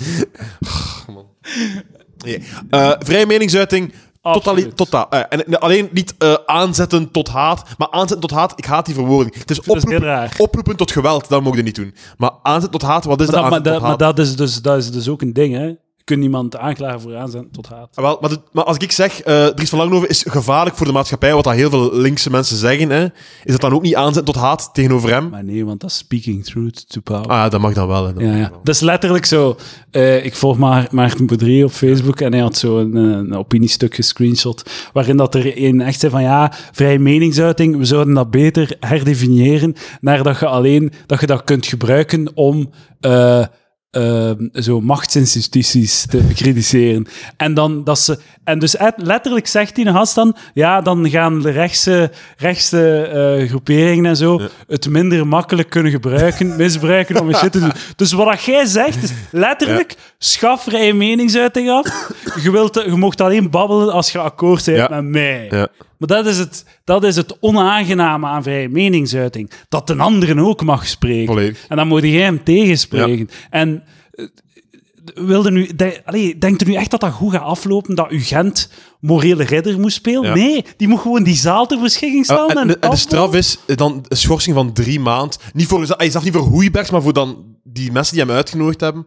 Speaker 2: Nee. Eh, vrije meningsuiting. Totali,
Speaker 1: Absoluut.
Speaker 2: totaal. eh, en eh, alleen niet eh, aanzetten tot haat. Maar aanzetten tot haat, ik haat die verwoording. Het is
Speaker 1: vind dat heel
Speaker 2: oproepen,
Speaker 1: raar.
Speaker 2: oproepen tot geweld, dat mogen we niet doen. Maar aanzetten tot haat, wat is
Speaker 1: maar, dat, maar,
Speaker 2: dat? aanzetten
Speaker 1: dat,
Speaker 2: tot
Speaker 1: maar
Speaker 2: haat?
Speaker 1: dat, is dus, dat is dus ook een ding, hè. Je kunt niemand aanklagen voor aanzet tot haat.
Speaker 2: Ah, wel, maar, de- maar als ik zeg, eh Dries van Langenhoven is gevaarlijk voor de maatschappij, wat dat heel veel linkse mensen zeggen, hè, is dat dan ook niet aanzetten tot haat tegenover hem?
Speaker 1: Maar nee, want dat is speaking truth to power.
Speaker 2: Ah, ja, dat mag dan wel. Hè, dan.
Speaker 1: Ja, ja. Dat is letterlijk zo. Eh, ik volg maar Maarten Boudry op Facebook en hij had zo een, eh, een opiniestuk gescreenshot waarin dat er een echt zei van ja, vrije meningsuiting, we zouden dat beter herdefiniëren naar dat je alleen dat je dat kunt gebruiken om eh, ehm, zo machtsinstituties te bekritiseren. En dan dat ze... En dus et- letterlijk zegt die gast dan, ja, dan gaan de rechtse, rechtse eh, groeperingen en zo het minder makkelijk kunnen gebruiken, misbruiken om een shit te doen. Dus wat dat jij zegt is letterlijk, schaf vrije meningsuiting af. Je, wilt, je mocht alleen babbelen als je akkoord bent
Speaker 2: Ja.
Speaker 1: met mij.
Speaker 2: Ja.
Speaker 1: Maar dat is, het, dat is het onaangename aan vrije meningsuiting. Dat de anderen ook mag spreken.
Speaker 2: Volledig.
Speaker 1: En dan moet jij hem tegenspreken. En eh, wilde nu, de, allee, denkt u nu echt dat dat goed gaat aflopen, dat Ugent morele ridder moest spelen?
Speaker 2: Ja.
Speaker 1: Nee, die moet gewoon die zaal ter beschikking
Speaker 2: Ah,
Speaker 1: stellen.
Speaker 2: en, de, en de
Speaker 1: aflopen.
Speaker 2: straf is eh, dan een schorsing van drie maand. Niet voor, hij is af niet voor Hoeibergs, maar voor dan die mensen die hem uitgenodigd hebben.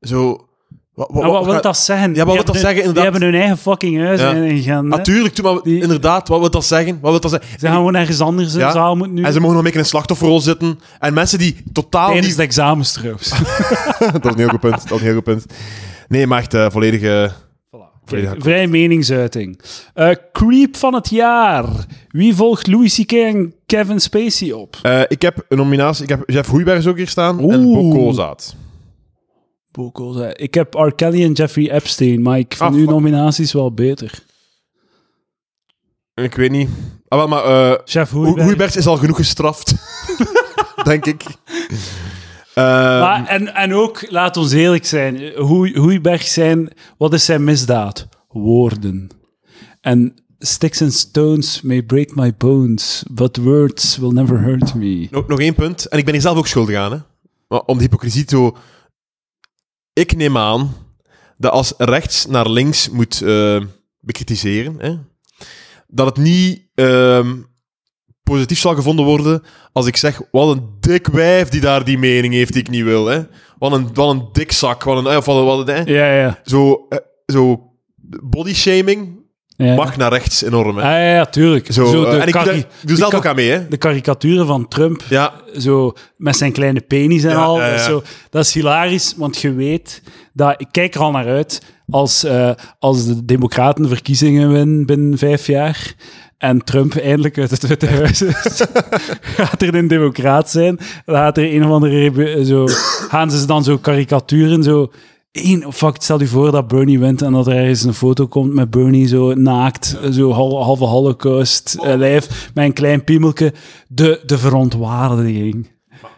Speaker 2: Zo. Wat,
Speaker 1: Maar wat wil dat zeggen?
Speaker 2: Ja, wat
Speaker 1: Die
Speaker 2: wil dat
Speaker 1: hebben hun-
Speaker 2: zeggen,
Speaker 1: Die
Speaker 2: inderdaad?
Speaker 1: hebben hun eigen fucking huis
Speaker 2: Ja.
Speaker 1: in ingegaan. hè.
Speaker 2: Natuurlijk, maar
Speaker 1: Die-
Speaker 2: inderdaad, wat wil dat zeggen? Wat wil dat zeggen?
Speaker 1: Ze gaan gewoon ergens anders in
Speaker 2: Ja.
Speaker 1: de zaal moeten nu.
Speaker 2: En ze mogen nog een beetje in een slachtofferrol zitten. En mensen die totaal
Speaker 1: Tijdens
Speaker 2: niet...
Speaker 1: de examens trouwens.
Speaker 2: dat is een heel goed punt. Dat is een heel goed punt. Nee, maar echt eh, volledig... eh, Volledig akkoord.
Speaker 1: Vrij meningsuiting. Eh, creep van het jaar. Wie volgt Louis C.K. en Kevin Spacey op?
Speaker 2: eh, ik heb een nominatie. Ik heb Jeff Hoeibergs ook hier staan. En
Speaker 1: Oeh.
Speaker 2: Bokozaat.
Speaker 1: Boekels, hè. Ik heb R. Kelly en Jeffrey Epstein, maar ik vind
Speaker 2: Ah,
Speaker 1: uw
Speaker 2: fuck.
Speaker 1: nominaties wel beter.
Speaker 2: Ik weet niet. Ah, wel, maar... eh
Speaker 1: Chef
Speaker 2: Ho-
Speaker 1: Hoeiberg.
Speaker 2: Hoeibergs is al genoeg gestraft. denk ik. Ehm,
Speaker 1: Maar, en, en ook, laat ons eerlijk zijn, Hoe- Hoeiberg zijn, wat is zijn misdaad? Woorden. En sticks and stones may break my bones, but words will never hurt me.
Speaker 2: nog, nog één punt. En ik ben hier zelf ook schuldig aan. Hè? Maar om de hypocrisie te... ho- Ik neem aan dat als rechts naar links moet eh, bekritiseren, hè, dat het niet ehm, positief zal gevonden worden als ik zeg, wat een dik wijf die daar die mening heeft die ik niet wil. Hè? Wat, een, wat een dik zak. Wat een, of wat een, wat een- hè.
Speaker 1: Ja, ja.
Speaker 2: Zo, eh, zo body shaming
Speaker 1: ja.
Speaker 2: mag naar rechts enorm. Hè?
Speaker 1: Ah, ja, ja, tuurlijk.
Speaker 2: Zo,
Speaker 1: Zo,
Speaker 2: eh,
Speaker 1: de,
Speaker 2: en ik
Speaker 1: kari-
Speaker 2: doe- doe zelf
Speaker 1: ka-
Speaker 2: ook aan mee. Hè?
Speaker 1: de karikaturen van Trump,
Speaker 2: Ja,
Speaker 1: zo met zijn kleine penis en
Speaker 2: Ja,
Speaker 1: al.
Speaker 2: ja,
Speaker 1: dat is
Speaker 2: ja.
Speaker 1: Zo, dat is hilarisch, want je weet dat ik kijk er al naar uit als, eh, als de Democraten verkiezingen winnen binnen vijf jaar. En Trump eindelijk uit het Witte Huis is. gaat er een democraat zijn? Dan gaat er een of andere... rebe- eh, Zo, gaan ze dan zo karikaturen, zo... Eén, fuck, stel je voor dat Bernie wint en dat er ergens een foto komt met Bernie zo naakt, zo hal- halve holocaust eh, lijf, met een klein piemelke. De, de verontwaardiging.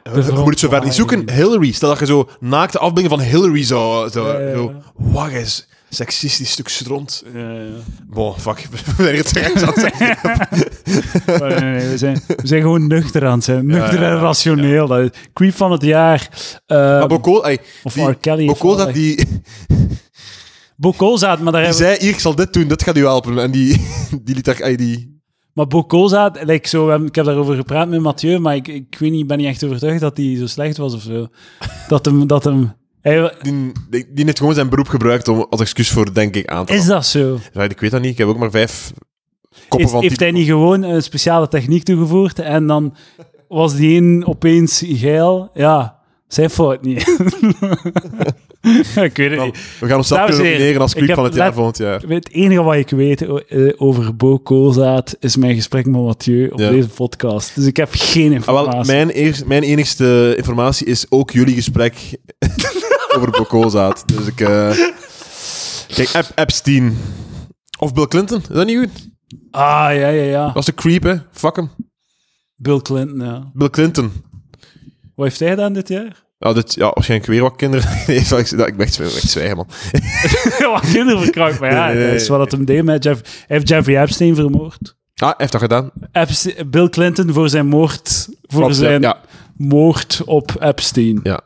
Speaker 2: Je je moet het zover niet zoeken. Hillary. Stel dat je zo naakte afbeeldingen van Hillary zou... zou
Speaker 1: Ja, ja, ja.
Speaker 2: zo, Wat is seksistisch stuk stront.
Speaker 1: Ja, ja.
Speaker 2: Bon, fuck. We zijn hier terecht aan het zeggen.
Speaker 1: Maar nee, nee, we, zijn, we zijn gewoon nuchter aan het zijn. Nuchter
Speaker 2: ja, ja.
Speaker 1: en rationeel. Dat is creep van het jaar. Eh,
Speaker 2: Maar Bokol... ey,
Speaker 1: of
Speaker 2: die-
Speaker 1: R. Kelly.
Speaker 2: Bokol, dat die, die
Speaker 1: Bokolzaad, maar daar hebben
Speaker 2: zei, hier, ik zal dit doen, dat gaat u helpen. En die, die liet daar... ey, die,
Speaker 1: Maar Bokolza, like zo, we hebben- ik heb daarover gepraat met Mathieu, maar ik, ik weet niet, ben niet echt overtuigd dat hij zo slecht was of zo. Dat hem, dat hem... hij-
Speaker 2: die, die, die heeft gewoon zijn beroep gebruikt om, als excuus voor, denk ik, aan te
Speaker 1: is dat zo?
Speaker 2: Ja, Ik weet dat niet, ik heb ook maar vijf koppen
Speaker 1: Heeft,
Speaker 2: van...
Speaker 1: heeft hij
Speaker 2: type-
Speaker 1: niet gewoon een speciale techniek toegevoegd en dan was die een opeens geil? Ja, zijn fout niet. ik weet het niet.
Speaker 2: We gaan onszelf
Speaker 1: Dames en heren,
Speaker 2: kunnen nomineren als
Speaker 1: ik
Speaker 2: club
Speaker 1: heb
Speaker 2: van het jaar
Speaker 1: let-
Speaker 2: volgend jaar.
Speaker 1: Het enige wat ik weet o- eh, over Bo Koolzaad is mijn gesprek met Mathieu op
Speaker 2: Ja.
Speaker 1: deze podcast. Dus ik heb geen
Speaker 2: Ah,
Speaker 1: informatie.
Speaker 2: wel, mijn, eerst, mijn enigste informatie is ook jullie gesprek over Bokozaat. Dus ik... eh, kijk, Ep- Epstein. Of Bill Clinton. Is dat niet goed?
Speaker 1: Ah, ja, ja, ja.
Speaker 2: Dat is de creep, hè. Fuck hem.
Speaker 1: Bill Clinton, ja.
Speaker 2: Bill Clinton.
Speaker 1: Wat heeft hij gedaan dit jaar?
Speaker 2: Ja, dit, ja, waarschijnlijk weer wat kinderen. Nee, zal ik, dat, ik ben echt, ik ben echt zwijgen, man. Ah,
Speaker 1: Wat kinderverkracht, maar ja,
Speaker 2: Nee, nee, nee.
Speaker 1: dat is wat het hem deed met Jeff. Hij heeft Jeffrey Epstein vermoord.
Speaker 2: Ah, hij heeft dat gedaan.
Speaker 1: Epste- Bill Clinton voor zijn moord, voor
Speaker 2: Klopt, ja,
Speaker 1: zijn
Speaker 2: Ja,
Speaker 1: moord op Epstein.
Speaker 2: ja.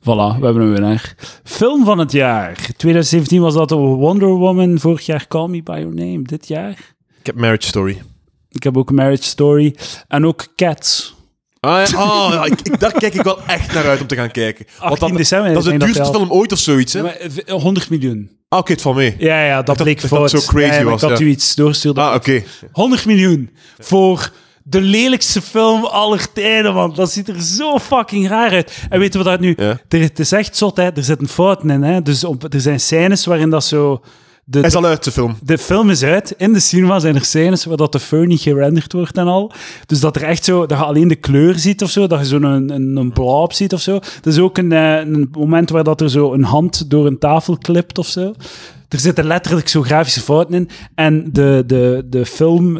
Speaker 1: Voilà, we hebben een winnaar. Film van het jaar. 2017 was dat Wonder Woman. Vorig jaar Call Me By Your Name. Dit jaar.
Speaker 2: Ik heb Marriage Story.
Speaker 1: Ik heb ook Marriage Story. En ook Cats.
Speaker 2: Ah, ja, ah, ja, ik, ik- daar kijk ik wel echt naar uit om te gaan kijken. Want
Speaker 1: 18
Speaker 2: dat,
Speaker 1: december.
Speaker 2: dat is de
Speaker 1: denk ik
Speaker 2: duurste
Speaker 1: wel.
Speaker 2: film ooit of zoiets, hè? Ah,
Speaker 1: Maar, eh, v- 100 miljoen.
Speaker 2: oké, het valt mee.
Speaker 1: Ja, ja, dat
Speaker 2: dacht
Speaker 1: bleek
Speaker 2: dat dat
Speaker 1: fout.
Speaker 2: zo crazy
Speaker 1: Ja, ja,
Speaker 2: was,
Speaker 1: Ik had
Speaker 2: ja.
Speaker 1: u iets doorstuurde.
Speaker 2: Ah, oké.
Speaker 1: 100 miljoen voor de lelijkste film aller tijden, man. Dat ziet er zo fucking raar uit. En weten we dat nu?
Speaker 2: Ja.
Speaker 1: Er, het is echt zot, hè. Er zitten fouten in, hè. Dus op, er zijn scènes waarin dat zo... De,
Speaker 2: Hij is al uit, de film.
Speaker 1: de film is uit. In de cinema zijn er scènes waar dat de fur niet gerenderd wordt en al. Dus dat er echt zo, dat je alleen de kleur ziet of zo. Dat je zo'n een, een, een blob ziet of zo. Er is ook een, eh, een moment waar dat er zo een hand door een tafel klipt of zo. Er zitten letterlijk zo grafische fouten in. En de, de, de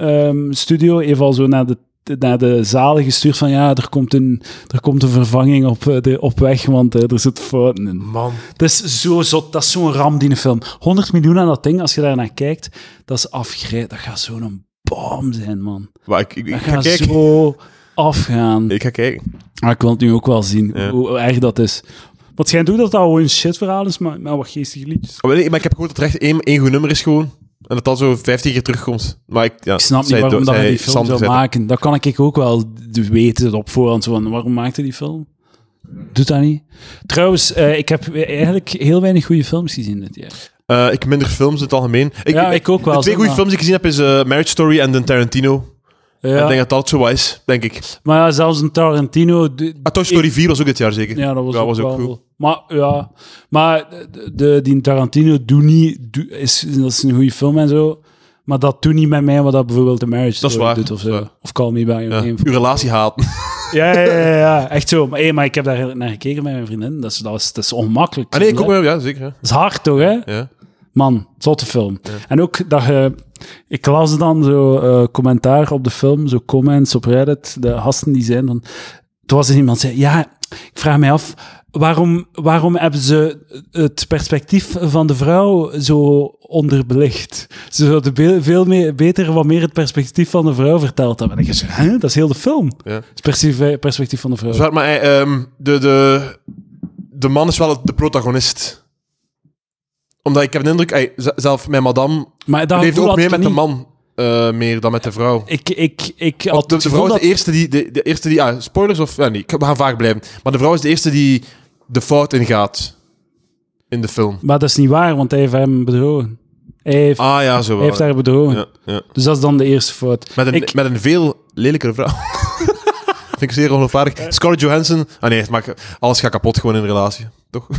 Speaker 1: filmstudio heeft al zo naar de naar de zalen gestuurd van ja, er komt een, er komt een vervanging op, eh, de, op weg, want eh, er zitten fouten in.
Speaker 2: Man.
Speaker 1: Dat is Dus zo zot. Dat is zo'n ram, die film. 100 miljoen aan dat ding, als je daar naar kijkt, dat is afgrijp. Dat gaat zo'n bom zijn, man.
Speaker 2: Maar ik, ik, ik
Speaker 1: Dat
Speaker 2: ga
Speaker 1: gaat
Speaker 2: kijken.
Speaker 1: zo afgaan.
Speaker 2: Ik ga kijken.
Speaker 1: Maar ik wil het nu ook wel zien,
Speaker 2: Ja.
Speaker 1: hoe, hoe erg dat is. Wat schijnt ook dat dat gewoon een shitverhaal is, maar met wat geestige liedjes.
Speaker 2: Oh, nee, maar ik heb gehoord dat er echt één, één goed nummer is gewoon. En dat dat zo 15 keer terugkomt. Maar ik, ja,
Speaker 1: Ik snap niet
Speaker 2: zij-
Speaker 1: waarom dat
Speaker 2: zij-
Speaker 1: hij die film
Speaker 2: Sander
Speaker 1: zou
Speaker 2: zei
Speaker 1: maken. Dat kan ik ook wel weten op voorhand. zo Van, waarom maakte die film? Doet dat niet? Trouwens, eh, ik heb eigenlijk heel weinig goede films gezien dit jaar.
Speaker 2: dat. Eh, ik minder films in het algemeen. Ik,
Speaker 1: Ja, ik ook wel,
Speaker 2: De
Speaker 1: zeg
Speaker 2: twee goede
Speaker 1: maar.
Speaker 2: films die ik gezien heb is eh, Marriage Story en de Tarantino. En ik
Speaker 1: Ja,
Speaker 2: denk dat dat zo wat is, denk ik.
Speaker 1: maar ja, zelfs een Tarantino... de-
Speaker 2: Ah, Toy Story 4 was ook dit jaar zeker.
Speaker 1: Ja, dat was
Speaker 2: Ja,
Speaker 1: ook,
Speaker 2: was ook
Speaker 1: wel-
Speaker 2: goed.
Speaker 1: Maar ja, maar de, de- die Tarantino doet niet, doe- is, dat is een goede film en zo. Maar dat doet niet met mij wat dat bijvoorbeeld de Marriage
Speaker 2: Dat is
Speaker 1: Story
Speaker 2: waar,
Speaker 1: doet of zo.
Speaker 2: dat is waar.
Speaker 1: Of Call Me By Your
Speaker 2: Ja.
Speaker 1: Name.
Speaker 2: Uw relatie haten.
Speaker 1: Ja, ja, ja, ja, echt zo. Maar, hey, maar ik heb daar naar gekeken met mijn vriendin. Dat is, dat is, dat is onmakkelijk.
Speaker 2: Ah nee, ik
Speaker 1: hè?
Speaker 2: ook wel. Ja, zeker.
Speaker 1: Dat is hard toch, hè?
Speaker 2: hè. Ja.
Speaker 1: Man, zotte film. En ook dat je... Ik las dan zo eh, commentaar op de film, zo comments op Reddit, de gasten die zijn van... Toen was er iemand die zei, ja, ik vraag mij af, waarom, waarom hebben ze het perspectief van de vrouw zo onderbelicht? Ze zouden be- veel meer, beter wat meer het perspectief van de vrouw verteld hebben. En ik zei, hè, dat is heel de film.
Speaker 2: Ja.
Speaker 1: Het perspectief- perspectief van de vrouw.
Speaker 2: Zwart, maar hij, ehm, de, de, de man is wel de protagonist. Omdat ik heb de indruk, hij, z- zelf mijn madame
Speaker 1: Maar dat
Speaker 2: leeft
Speaker 1: gevoel
Speaker 2: ook
Speaker 1: had
Speaker 2: meer
Speaker 1: ik
Speaker 2: met de
Speaker 1: niet.
Speaker 2: man eh, meer dan met de vrouw.
Speaker 1: Ik, ik, ik had
Speaker 2: De,
Speaker 1: het
Speaker 2: de
Speaker 1: gevoel
Speaker 2: vrouw is
Speaker 1: dat...
Speaker 2: de eerste die... De, de eerste die ah, spoilers of... Ja, nee, ik- we gaan vaak blijven. Maar de vrouw is de eerste die de fout ingaat in de film.
Speaker 1: Maar dat is niet waar, want hij heeft hem bedrogen. Hij heeft,
Speaker 2: Ah ja, zo
Speaker 1: hij
Speaker 2: wel.
Speaker 1: heeft haar bedrogen.
Speaker 2: Ja, ja.
Speaker 1: Dus dat is dan de eerste fout.
Speaker 2: Met, een,
Speaker 1: Ik-
Speaker 2: met een veel lelijkere vrouw. Vind ik zeer ongeloofwaardig. Scarlett Johansson... Ah nee, het maakt, alles gaat kapot gewoon in een relatie. Toch?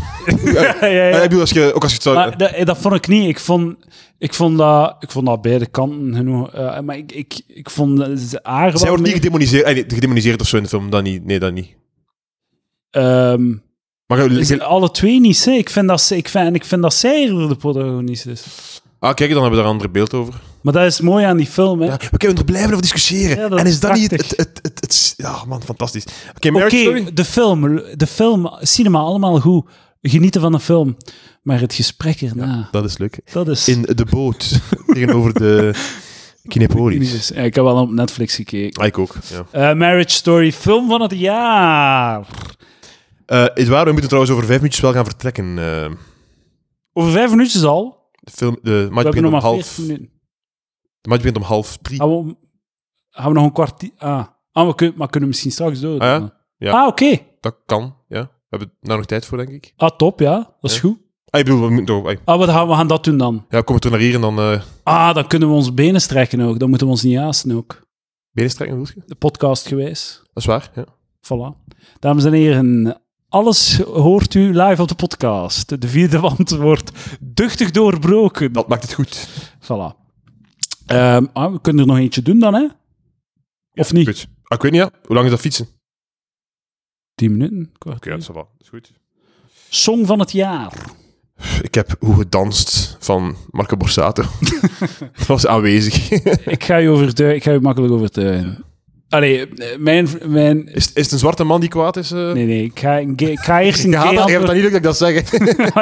Speaker 1: Ja, ja, ja.
Speaker 2: Eh, Ik bedoel, als je, ook als je het zou... eh,
Speaker 1: Maar dat, dat vond ik niet. Ik vond, ik vond, dat, ik vond dat beide kanten genoeg. eh, maar ik, ik, ik vond ze- haar
Speaker 2: Zij
Speaker 1: wel
Speaker 2: wordt niet
Speaker 1: meer-
Speaker 2: gedemoniseerd, eh, nee, gedemoniseerd of zo in de film. Dat niet. Nee, dat niet.
Speaker 1: Ehm,
Speaker 2: Maar, je-
Speaker 1: ze- alle twee niet. Hè. Ik, vind dat, ze- ik, vind, en ik vind dat zij er de protagonist is.
Speaker 2: ah, kijk, dan hebben we daar een ander beeld over.
Speaker 1: Maar dat is mooi aan die film. Hè.
Speaker 2: Ja, we kunnen er blijven over discussiëren.
Speaker 1: Ja, dat
Speaker 2: en is
Speaker 1: is
Speaker 2: dat niet het,
Speaker 1: prachtig.
Speaker 2: het, het, het- het- Ja, man, fantastisch. Oké,
Speaker 1: Oké,
Speaker 2: Marriage Story?
Speaker 1: de film, de film, cinema, allemaal goed. Genieten van de film. Maar het gesprek erna,
Speaker 2: Dat is leuk.
Speaker 1: dat is...
Speaker 2: In de boot tegenover de Kinepolis.
Speaker 1: Ja, ik heb wel op Netflix gekeken.
Speaker 2: Ah, ik ook. Ja.
Speaker 1: Eh, marriage Story, film van het jaar.
Speaker 2: Eh, Edouard, we moeten trouwens over vijf minuutjes wel gaan vertrekken. eh,
Speaker 1: Over vijf minuutjes al.
Speaker 2: de film, de
Speaker 1: We
Speaker 2: match
Speaker 1: hebben
Speaker 2: begint
Speaker 1: nog
Speaker 2: om
Speaker 1: maar
Speaker 2: half.
Speaker 1: 40 minuten.
Speaker 2: De match begint om half drie.
Speaker 1: Gaan we, om- gaan we nog een kwartier... Ah, ah we kunnen, maar kunnen we misschien straks door.
Speaker 2: Ah, ja?
Speaker 1: doen?
Speaker 2: Ja.
Speaker 1: Ah, oké.
Speaker 2: Dat kan. Ja. We hebben daar nog tijd voor, denk ik.
Speaker 1: Ah, top, ja. Dat is
Speaker 2: Ja.
Speaker 1: goed.
Speaker 2: Ah, ik bedoel, we moeten nog- ah,
Speaker 1: Ah, wat gaan, we gaan dat doen dan.
Speaker 2: Ja, kom toen naar hier en dan eh
Speaker 1: Ah, dan kunnen we onze benen strekken ook. Dan moeten we ons niet haasten ook.
Speaker 2: benen strekken, bedoel je?
Speaker 1: De podcast geweest.
Speaker 2: Dat is waar. Ja.
Speaker 1: Voilà. Dames en heren, alles hoort u live op de podcast. De vierde wand wordt duchtig doorbroken.
Speaker 2: Dat maakt het goed.
Speaker 1: Voilà. Ehm, ah, we kunnen er nog eentje doen dan, hè? Of niet?
Speaker 2: Goed. Ah, ik weet niet, ja. Hoe lang is dat fietsen? Oké,
Speaker 1: Tien minuten. kwartier.
Speaker 2: ja, dat is wel. Dat is goed.
Speaker 1: Song van het jaar.
Speaker 2: Ik heb Hoe Gedanst van Marco Borsato. dat was aanwezig.
Speaker 1: Ik ga je overtuigen. Ik ga je makkelijk overtuigen. Allee, eh, mijn... mijn
Speaker 2: is, is het een zwarte man die kwaad is? eh?
Speaker 1: nee, nee. Ik ga, een gay- ik ga eerst een
Speaker 2: Je haat
Speaker 1: gay
Speaker 2: dat- je hebt
Speaker 1: antwoord-
Speaker 2: dat niet leuk dat ik dat zeg. hè.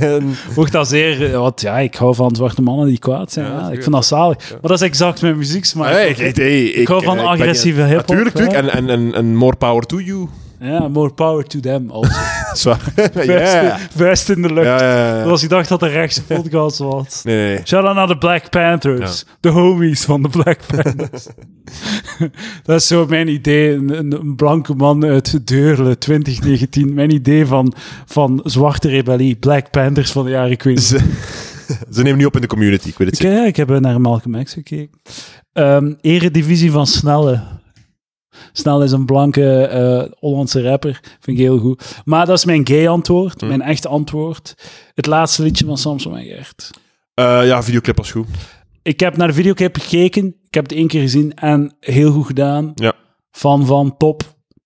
Speaker 1: Ah, nee, maar- mocht dat zeer... eh, Want ja, ik hou van zwarte mannen die kwaad zijn.
Speaker 2: Ja,
Speaker 1: ja.
Speaker 2: dat is
Speaker 1: ik
Speaker 2: goed.
Speaker 1: vind dat zalig. Maar dat is exact mijn muzieksmaak.
Speaker 2: Hey, ik- hey, ik-
Speaker 1: hou van
Speaker 2: eh, ik ben-
Speaker 1: agressieve hiphop,
Speaker 2: Natuurlijk,
Speaker 1: hè.
Speaker 2: natuurlijk. En, en, en, en more power to you.
Speaker 1: Ja, more power to them. Also.
Speaker 2: Dat is waar. Ja.
Speaker 1: Vuist, in- vuist in de lucht.
Speaker 2: Ja, ja, ja.
Speaker 1: Dat was ik dacht dat de rechtse podcast was.
Speaker 2: Nee, nee, nee.
Speaker 1: Shout out naar de Black Panthers. De homies van de Black Panthers. dat is zo mijn idee. Een, een, een blanke man uit Deurle 2019. Mijn idee van, van zwarte rebellie. Black Panthers van de jaren Queen.
Speaker 2: Ze, ze nemen nu op in de community, ik weet het
Speaker 1: Ik, ja, ik heb eh, naar Malcolm X gekeken. Ehm, Eredivisie van Snelle. Snelle is een blanke eh, Hollandse rapper. Vind ik heel goed. Maar dat is mijn gay antwoord. Mijn echte antwoord. Het laatste liedje van Samson en Gert.
Speaker 2: zeker. Eh, ja, videoclip was goed.
Speaker 1: Ik heb naar de videoclip gekeken. Ik heb het één keer gezien en heel goed gedaan.
Speaker 2: Ja.
Speaker 1: Van, van, top.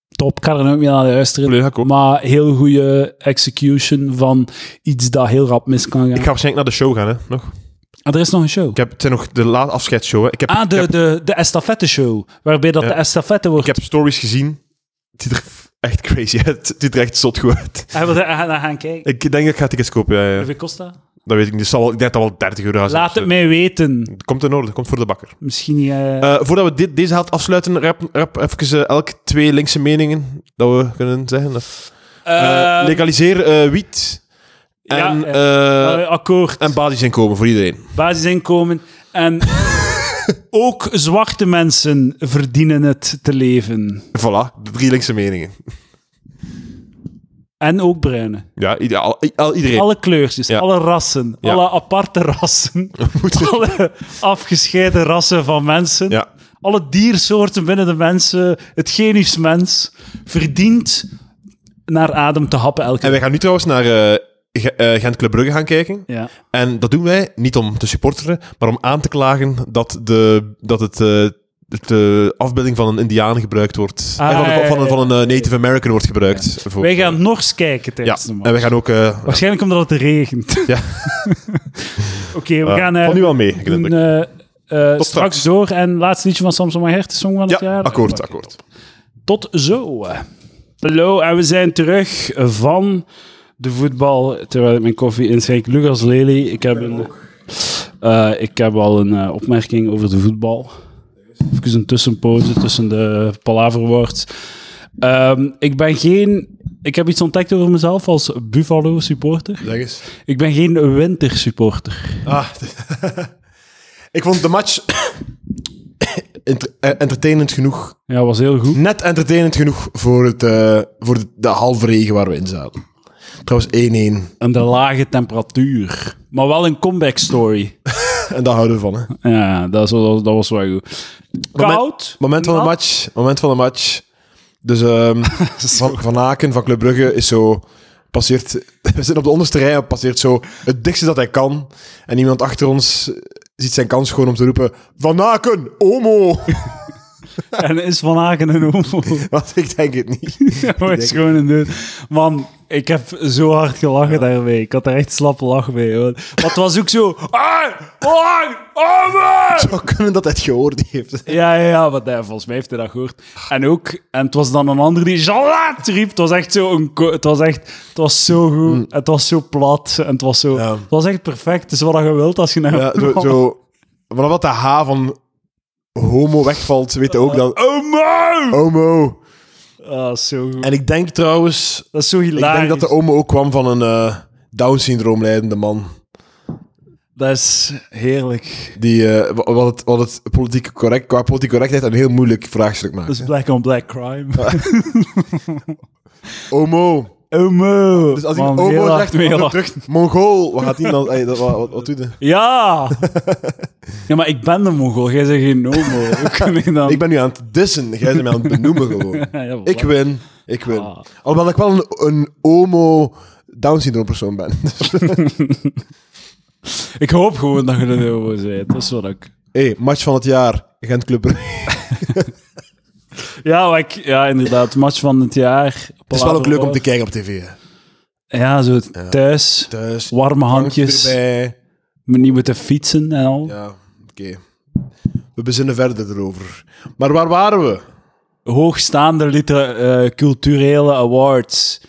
Speaker 1: Top, ik ga er nooit meer naar luisteren.
Speaker 2: Volledig akkoord.
Speaker 1: Maar heel goede execution van iets dat heel rap mis kan gaan.
Speaker 2: Ik ga waarschijnlijk naar de show gaan, hè. Nog.
Speaker 1: Ah, er is nog een show.
Speaker 2: Ik heb, het zijn nog de laatste afscheidsshow, hè. Ik heb,
Speaker 1: ah, de,
Speaker 2: ik, heb,
Speaker 1: de, de estafette show. Waarbij dat
Speaker 2: Ja.
Speaker 1: de estafette
Speaker 2: ik
Speaker 1: wordt.
Speaker 2: heb stories gezien. Het ziet er echt crazy uit. Het ziet er echt zot goed uit.
Speaker 1: Hij wil daar naar gaan kijken.
Speaker 2: Ik denk dat ik ga tickets kopen, ja, ja.
Speaker 1: Hoeveel kost dat?
Speaker 2: Dat weet ik niet. Het zal wel- Ik denk dat dat wel 30 euro gaat zijn.
Speaker 1: Laat het mij weten.
Speaker 2: Het Komt in orde, het komt voor de bakker.
Speaker 1: Misschien niet. eh,
Speaker 2: Eh, voordat we dit, deze helft afsluiten, rap, rap even eh, elk twee linkse meningen dat we kunnen zeggen. Of- Eh,
Speaker 1: eh,
Speaker 2: legaliseer eh, wiet en,
Speaker 1: ja, eh,
Speaker 2: eh,
Speaker 1: eh, akkoord.
Speaker 2: en basisinkomen voor iedereen.
Speaker 1: basisinkomen. En ook zwarte mensen verdienen het te leven.
Speaker 2: Voilà, de drie linkse meningen.
Speaker 1: En ook bruine.
Speaker 2: Ja, ieder- al, i- al iedereen.
Speaker 1: Alle kleurtjes,
Speaker 2: Ja.
Speaker 1: alle rassen,
Speaker 2: Ja.
Speaker 1: alle aparte rassen, alle afgescheiden rassen van mensen,
Speaker 2: Ja.
Speaker 1: alle diersoorten binnen de mensen, het genisch mens, verdient naar adem te happen elke
Speaker 2: En wij gaan nu trouwens naar eh, Ge- eh, Gent Club Brugge gaan kijken.
Speaker 1: Ja.
Speaker 2: En dat doen wij niet om te supporteren, maar om aan te klagen dat, de, dat het eh, de afbeelding van een indiaan gebruikt wordt.
Speaker 1: Ah,
Speaker 2: en van,
Speaker 1: ja,
Speaker 2: een- van, een-
Speaker 1: ja,
Speaker 2: van een eh, Native American wordt gebruikt. Voor,
Speaker 1: Wij gaan Nors kijken
Speaker 2: Oh. ja,
Speaker 1: tijdens de
Speaker 2: en
Speaker 1: match.
Speaker 2: we gaan ook... eh,
Speaker 1: Waarschijnlijk omdat het regent.
Speaker 2: Ja.
Speaker 1: Oké, we gaan eh,
Speaker 2: van nu al mee,
Speaker 1: doen,
Speaker 2: Glendon.
Speaker 1: eh, eh, straks.
Speaker 2: straks.
Speaker 1: door. En laatste liedje van Samson Maher, de song van
Speaker 2: Ja,
Speaker 1: het jaar.
Speaker 2: akkoord,
Speaker 1: Oké,
Speaker 2: akkoord.
Speaker 1: Tot zo. Hallo, en we zijn terug van de voetbal. Terwijl ik mijn koffie inschenk. Lucas Lely, ik heb, een, eh, ik heb al een eh, opmerking over de voetbal. Even een tussenpoze tussen de palaverwoord. Ehm, ik ben geen... Ik heb iets ontdekt over mezelf als Buffalo-supporter.
Speaker 2: Zeg eens.
Speaker 1: Ik ben geen wintersupporter.
Speaker 2: Ah, ik vond de match enter- eh, entertainend genoeg.
Speaker 1: Ja, was heel goed.
Speaker 2: Net entertainend genoeg voor, het, eh, voor de, de halve regen waar we in zaten. Trouwens 1-1.
Speaker 1: En de lage temperatuur. Maar wel een comeback-story.
Speaker 2: En daar houden we van. Hè.
Speaker 1: Ja, dat was, dat was- dat was wel goed. Koud.
Speaker 2: Moment van de
Speaker 1: Nat.
Speaker 2: match. Moment van de match. Dus ehm, van, van Aken van Club Brugge is zo... Passeert, we zitten op de onderste rij en passeert zo het dichtste dat hij kan. En iemand achter ons ziet zijn kans gewoon om te roepen... Van Aken, homo!
Speaker 1: En is Van Aken een homo?
Speaker 2: Want ik denk het niet.
Speaker 1: Hij is gewoon een dude. Man, ik heb zo hard gelachen daarbij. Ik had er echt slappe lach bij. hoor. Maar het was ook zo... "Hey, lang, homo!"
Speaker 2: Zou kunnen dat hij het gehoord heeft.
Speaker 1: Ja, ja, ja, wat hij, volgens mij heeft hij dat gehoord. En ook, en het was dan een ander die Jalat riep. Het was echt zo, een, ko- het was echt, het was zo goed. Het was zo plat. En het was zo,
Speaker 2: Mm. Ja.
Speaker 1: het was echt perfect. Het is wat je wilt als je naar
Speaker 2: Ja, zo, zo, vanaf dat de H van homo wegvalt, weet hij ook dat
Speaker 1: Oh, man!
Speaker 2: homo...
Speaker 1: Ah, zo goed.
Speaker 2: En ik denk trouwens...
Speaker 1: Dat is zo
Speaker 2: Ik
Speaker 1: hilarisch.
Speaker 2: denk dat de homo ook kwam van een eh, Down-syndroom leidende man.
Speaker 1: Dat is heerlijk.
Speaker 2: Die, eh, wa- wat, het, wat het politiek correct, qua politieke correctheid een heel moeilijk vraagstuk maakt.
Speaker 1: Dat is black on black crime.
Speaker 2: homo.
Speaker 1: Homo.
Speaker 2: Dus als
Speaker 1: Man,
Speaker 2: iemand
Speaker 1: heel
Speaker 2: homo
Speaker 1: hard
Speaker 2: zegt,
Speaker 1: mee
Speaker 2: dan
Speaker 1: lachen.
Speaker 2: terug, mongool. Wat gaat die dan? ey, dat- wat, wat, wat doet hij?
Speaker 1: Ja! ja, maar ik ben de Mongool. Jij bent geen homo. Hoe kan ik dan...
Speaker 2: Ik ben nu aan het dissen. Jij bent mij aan het benoemen gewoon.
Speaker 1: Ja, voilà.
Speaker 2: Ik win. Ik win.
Speaker 1: Ah.
Speaker 2: Alhoewel ik wel een, een homo Down-syndroom persoon ben.
Speaker 1: Ik hoop gewoon dat je een homo bent. Dat is wat ik...
Speaker 2: hey, match van het jaar. Gent Club Brugge.
Speaker 1: Ja, maar ik... ja, inderdaad. Match van het jaar.
Speaker 2: Het is wel ook leuk om te kijken op tv. hè.
Speaker 1: Ja, zo thuis.
Speaker 2: Thuis.
Speaker 1: Warme handjes.
Speaker 2: Drankje erbij.
Speaker 1: Maar niet moeten fietsen en al.
Speaker 2: Ja, oké. We bezinnen verder erover. Maar waar waren we?
Speaker 1: Hoogstaande liter- eh, culturele awards.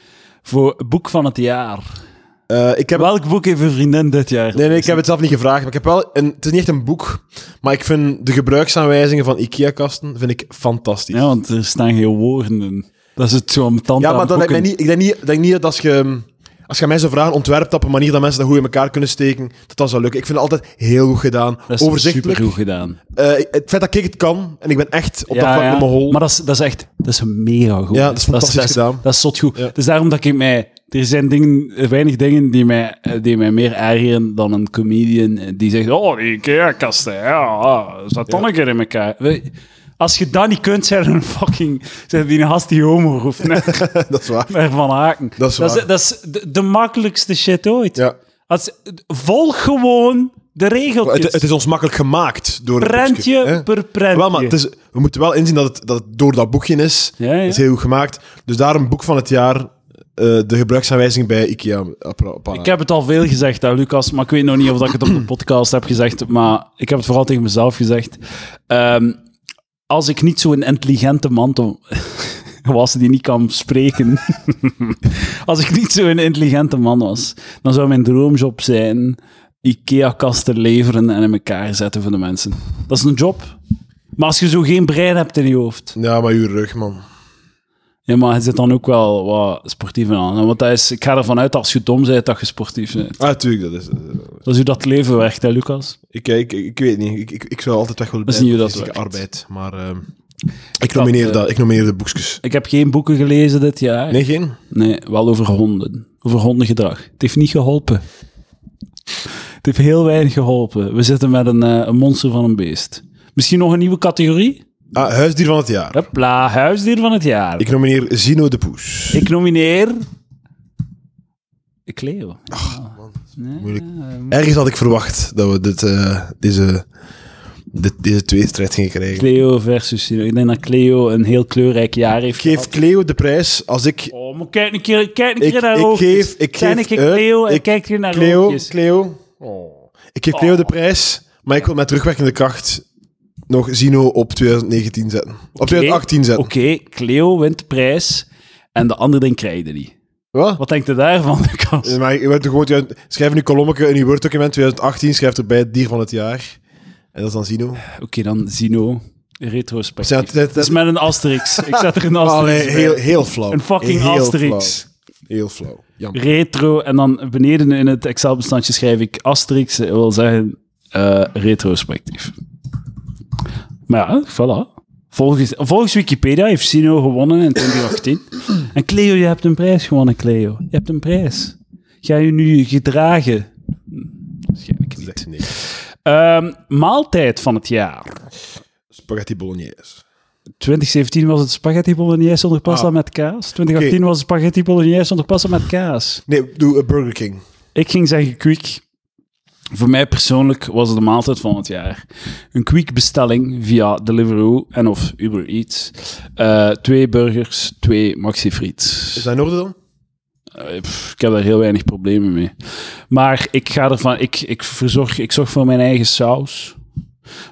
Speaker 1: Voor boek van het jaar.
Speaker 2: Eh, ik heb...
Speaker 1: Welk boek heeft een vriendin dit jaar?
Speaker 2: Nee, nee, ik heb het zelf niet gevraagd. Maar ik heb wel... Een, het is niet echt een boek, maar ik vind de gebruiksaanwijzingen van IKEA-kasten vind ik fantastisch.
Speaker 1: Ja, want er staan geen woorden in. Dat is het zo ambetant
Speaker 2: Ja,
Speaker 1: aan
Speaker 2: maar dat lijkt mij
Speaker 1: boeken.
Speaker 2: niet, ik denk niet, ik denk niet dat als je... Als je mij zou vragen, ontwerp dat op een manier dat mensen dat goed in elkaar kunnen steken, dat dat zou lukken. Ik vind het altijd heel goed gedaan.
Speaker 1: Dat is
Speaker 2: Overzichtelijk.
Speaker 1: supergoed gedaan.
Speaker 2: Eh, het feit dat ik het kan, en ik ben echt op dat vlak
Speaker 1: ja.
Speaker 2: op mijn hol.
Speaker 1: Maar dat is, dat is echt dat is mega goed.
Speaker 2: Ja, dat is fantastisch
Speaker 1: dat
Speaker 2: gedaan.
Speaker 1: Dat is zot goed.
Speaker 2: Ja.
Speaker 1: Het is daarom dat ik mij... Er zijn dingen, weinig dingen die mij, die mij meer ergeren dan een comedian die zegt oh, die IKEA-kasten, ja, ah, zat dan een keer in elkaar. We- Als je dat niet kunt, zijn er een fucking... Zijn die een gast die homo roept naar,
Speaker 2: dat is waar.
Speaker 1: naar Van Haken.
Speaker 2: Dat is
Speaker 1: dat is,
Speaker 2: waar.
Speaker 1: dat is de, de makkelijkste shit ooit.
Speaker 2: Ja.
Speaker 1: Als, volg gewoon de regeltjes.
Speaker 2: Het, het is ons makkelijk gemaakt door een
Speaker 1: Prentje
Speaker 2: boekje, hè?
Speaker 1: per prentje.
Speaker 2: Wel, maar het is, we moeten wel inzien dat het, dat het door dat boekje is.
Speaker 1: Ja, ja.
Speaker 2: Het is heel goed gemaakt. Dus daarom boek van het jaar, eh, de gebruiksaanwijzing bij IKEA. appara- appara-
Speaker 1: Ik heb het al veel gezegd, hè, Lucas, maar ik weet nog niet of dat ik het op de podcast heb gezegd, maar ik heb het vooral tegen mezelf gezegd. Ehm, als ik niet zo'n intelligente man to- was die niet kan spreken, als ik niet zo'n intelligente man was, dan zou mijn droomjob zijn IKEA-kasten leveren en in elkaar zetten voor de mensen. Dat is een job. Maar als je zo geen brein hebt in je hoofd,
Speaker 2: Ja, maar uw rug, man.
Speaker 1: ja, maar je zit dan ook wel wat sportief in aan. hè, Want dat is, ik ga ervan uit dat als je dom bent, dat je sportief bent.
Speaker 2: Ah, tuurlijk, dat is... eh,
Speaker 1: Dat is hoe dat leven werkt, hè, Lucas?
Speaker 2: ik, ik, ik weet niet. Ik, ik, ik zou altijd weg willen
Speaker 1: Dat is niet
Speaker 2: blijven
Speaker 1: hoe dat
Speaker 2: voor fysieke arbeid. Maar ehm, ik, nomineer
Speaker 1: eh,
Speaker 2: dat, ik nomineer de boekjes.
Speaker 1: Ik heb geen boeken gelezen dit jaar.
Speaker 2: Nee, geen?
Speaker 1: Nee, wel over honden. Over hondengedrag. Het heeft niet geholpen. Het heeft heel weinig geholpen. We zitten met een, eh, een monster van een beest. Misschien nog een nieuwe categorie?
Speaker 2: Ah, huisdier van het jaar.
Speaker 1: Hopla, huisdier van het jaar. Ik,
Speaker 2: Ik nomineer Zino de Poes.
Speaker 1: nomineer... Cleo.
Speaker 2: Moeilijk. Ergens had ik verwacht dat we dit, eh, deze de, deze twee strijd ging krijgen.
Speaker 1: Cleo versus Sino. Ik denk dat Cleo een heel kleurrijk jaar heeft
Speaker 2: Ik geef
Speaker 1: gehad.
Speaker 2: Cleo de prijs als ik...
Speaker 1: Oh, maar kijk een keer, kijk een
Speaker 2: Ik,
Speaker 1: keer naar
Speaker 2: ik
Speaker 1: oogjes.
Speaker 2: geef... Ik
Speaker 1: Zijn
Speaker 2: geef
Speaker 1: ik
Speaker 2: uit-
Speaker 1: Cleo en
Speaker 2: ik-
Speaker 1: kijk hier naar
Speaker 2: Cleo,
Speaker 1: oogjes.
Speaker 2: Cleo. Oh. Ik geef Cleo de prijs, maar ik wil met terugwerkende kracht nog Zino op 2019 zetten. Op 2018 zetten.
Speaker 1: Oké, Cleo wint de prijs en de andere ding krijg je niet.
Speaker 2: Wat?
Speaker 1: Wat denkt u daarvan, Lucas?
Speaker 2: Eh, Maar je bent toch gewoon, je- schrijf nu kolommetje in je Word-document 2018, schrijf erbij het dier van het jaar. En dat is dan Zino.
Speaker 1: Oké, dan Zino. Retrospectief.
Speaker 2: Zet- zet-
Speaker 1: Dat is met een asterix. Ik zet er een
Speaker 2: Allee,
Speaker 1: asterix bij.
Speaker 2: heel, heel flauw.
Speaker 1: Een fucking
Speaker 2: heel
Speaker 1: Asterix.
Speaker 2: flauw. Heel flauw. Jammer.
Speaker 1: Retro. En dan beneden in het Excel-bestandje schrijf ik asterix. Dat wil zeggen eh, retrospectief. Maar ja, voilà. Volgens, volgens Wikipedia heeft Sino gewonnen in 2018. En Cleo, je hebt een prijs gewonnen, Cleo. Je hebt een prijs. Ga je nu gedragen? Hm, Waarschijnlijk niet.
Speaker 2: Nee.
Speaker 1: Ehm, maaltijd van het jaar.
Speaker 2: Spaghetti bolognese.
Speaker 1: 2017 was het spaghetti bolognese zonder pasta
Speaker 2: Ah.
Speaker 1: met kaas. 2018 was het spaghetti bolognese zonder pasta met kaas.
Speaker 2: Nee, doe eh, Burger King.
Speaker 1: Ik ging zeggen quick. Voor mij persoonlijk was het de maaltijd van het jaar. Een quick bestelling via Deliveroo en of Uber Eats. Eh, twee burgers, twee maxi friet.
Speaker 2: Is dat in orde dan?
Speaker 1: Eh, pff, ik heb daar heel weinig problemen mee. Maar ik ga ervan, ik, ik verzorg, ik zorg voor mijn eigen saus.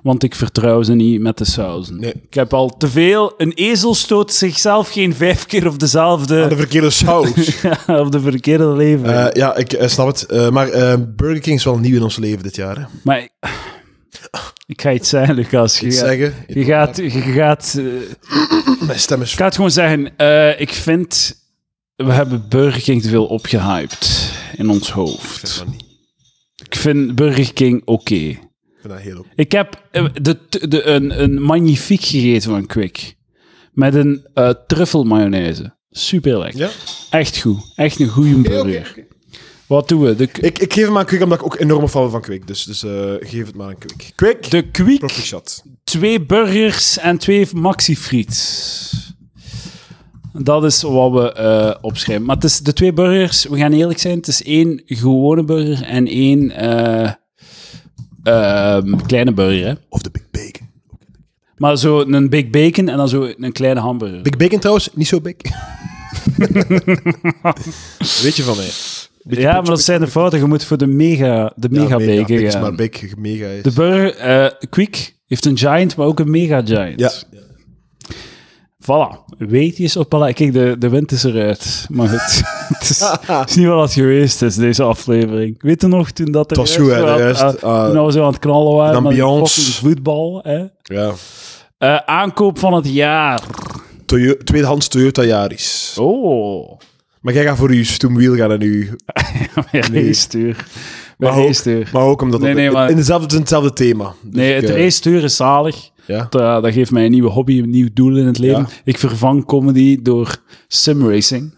Speaker 1: Want ik vertrouw ze niet met de sausen.
Speaker 2: Nee.
Speaker 1: Ik heb al te veel. Een ezel stoot zichzelf geen vijf keer op
Speaker 2: Aan de
Speaker 1: dezelfde.
Speaker 2: verkeerde saus.
Speaker 1: op de verkeerde leven.
Speaker 2: Eh, ja, ik eh, snap het. Eh, maar eh, Burger King is wel nieuw in ons leven dit jaar. Hè? Ik
Speaker 1: Maar ik, ik ga iets zeggen, Lucas. Je, gaat-
Speaker 2: zeggen,
Speaker 1: je gaat. Je gaat eh,
Speaker 2: mijn stem is...
Speaker 1: ik ga het gewoon zeggen. eh, ik vind. We hebben Burger King te veel opgehyped in ons
Speaker 2: Ik vind
Speaker 1: hoofd.
Speaker 2: dat niet.
Speaker 1: Ik vind Burger King oké.
Speaker 2: Ik vind dat heel oké.
Speaker 1: Ik heb eh, de, de, een, een magnifiek gegeten van Quick. Met een eh truffelmayonaise. Super lekker.
Speaker 2: Ja?
Speaker 1: Echt goed. Echt een goede burger. Wat doen we? De, k-
Speaker 2: Ik, ik geef hem aan Kwik, omdat ik ook enorme fan van Kwik. Dus, dus eh, geef het maar aan Kwik. Kwik,
Speaker 1: de Quick,
Speaker 2: profit shot.
Speaker 1: twee burgers en twee maxi-friets. Dat is wat we eh, opschrijven. Maar het is de twee burgers, we gaan eerlijk zijn, het is één gewone burger en één eh, ehm, kleine burger. Hè?
Speaker 2: Of de Big Bacon.
Speaker 1: Maar zo een Big Bacon en dan zo een kleine hamburger.
Speaker 2: Big Bacon trouwens, niet zo big. Weet je van mij.
Speaker 1: ja, maar dat zijn de fouten. Je moet voor de mega, de mega
Speaker 2: ja,
Speaker 1: bacon
Speaker 2: Big is
Speaker 1: gaan.
Speaker 2: maar big, mega is...
Speaker 1: De burger, eh Quick, heeft een giant, maar ook een mega giant.
Speaker 2: ja.
Speaker 1: Voilà. Weet je eens op alle... Kijk, de, de wind is eruit. Maar het, het, is, het is niet wat het geweest is, deze aflevering. Weet je nog toen dat er eh,
Speaker 2: was goed, hè, de rest, ah.
Speaker 1: toen we zo aan het knallen waren
Speaker 2: De
Speaker 1: met die
Speaker 2: ambiance.
Speaker 1: fucking voetbal. Hè?
Speaker 2: ja.
Speaker 1: Eh, aankoop van het jaar.
Speaker 2: Toyo- tweedehands Toyota Yaris.
Speaker 1: Oh.
Speaker 2: Maar jij gaat voor je stoemwiel gaan en uw...
Speaker 1: Mijn
Speaker 2: Nee.
Speaker 1: race-stuur. Mijn
Speaker 2: ook-
Speaker 1: race-stuur.
Speaker 2: Maar ook omdat
Speaker 1: Nee, nee,
Speaker 2: het,
Speaker 1: maar-
Speaker 2: in dezelfde, het is hetzelfde thema. Dus
Speaker 1: Nee,
Speaker 2: ik,
Speaker 1: het
Speaker 2: eh,
Speaker 1: race-stuur is zalig.
Speaker 2: Ja.
Speaker 1: Dat, eh, dat geeft mij een nieuwe hobby, een nieuw doel in het leven.
Speaker 2: Ja.
Speaker 1: Ik vervang comedy door simracing.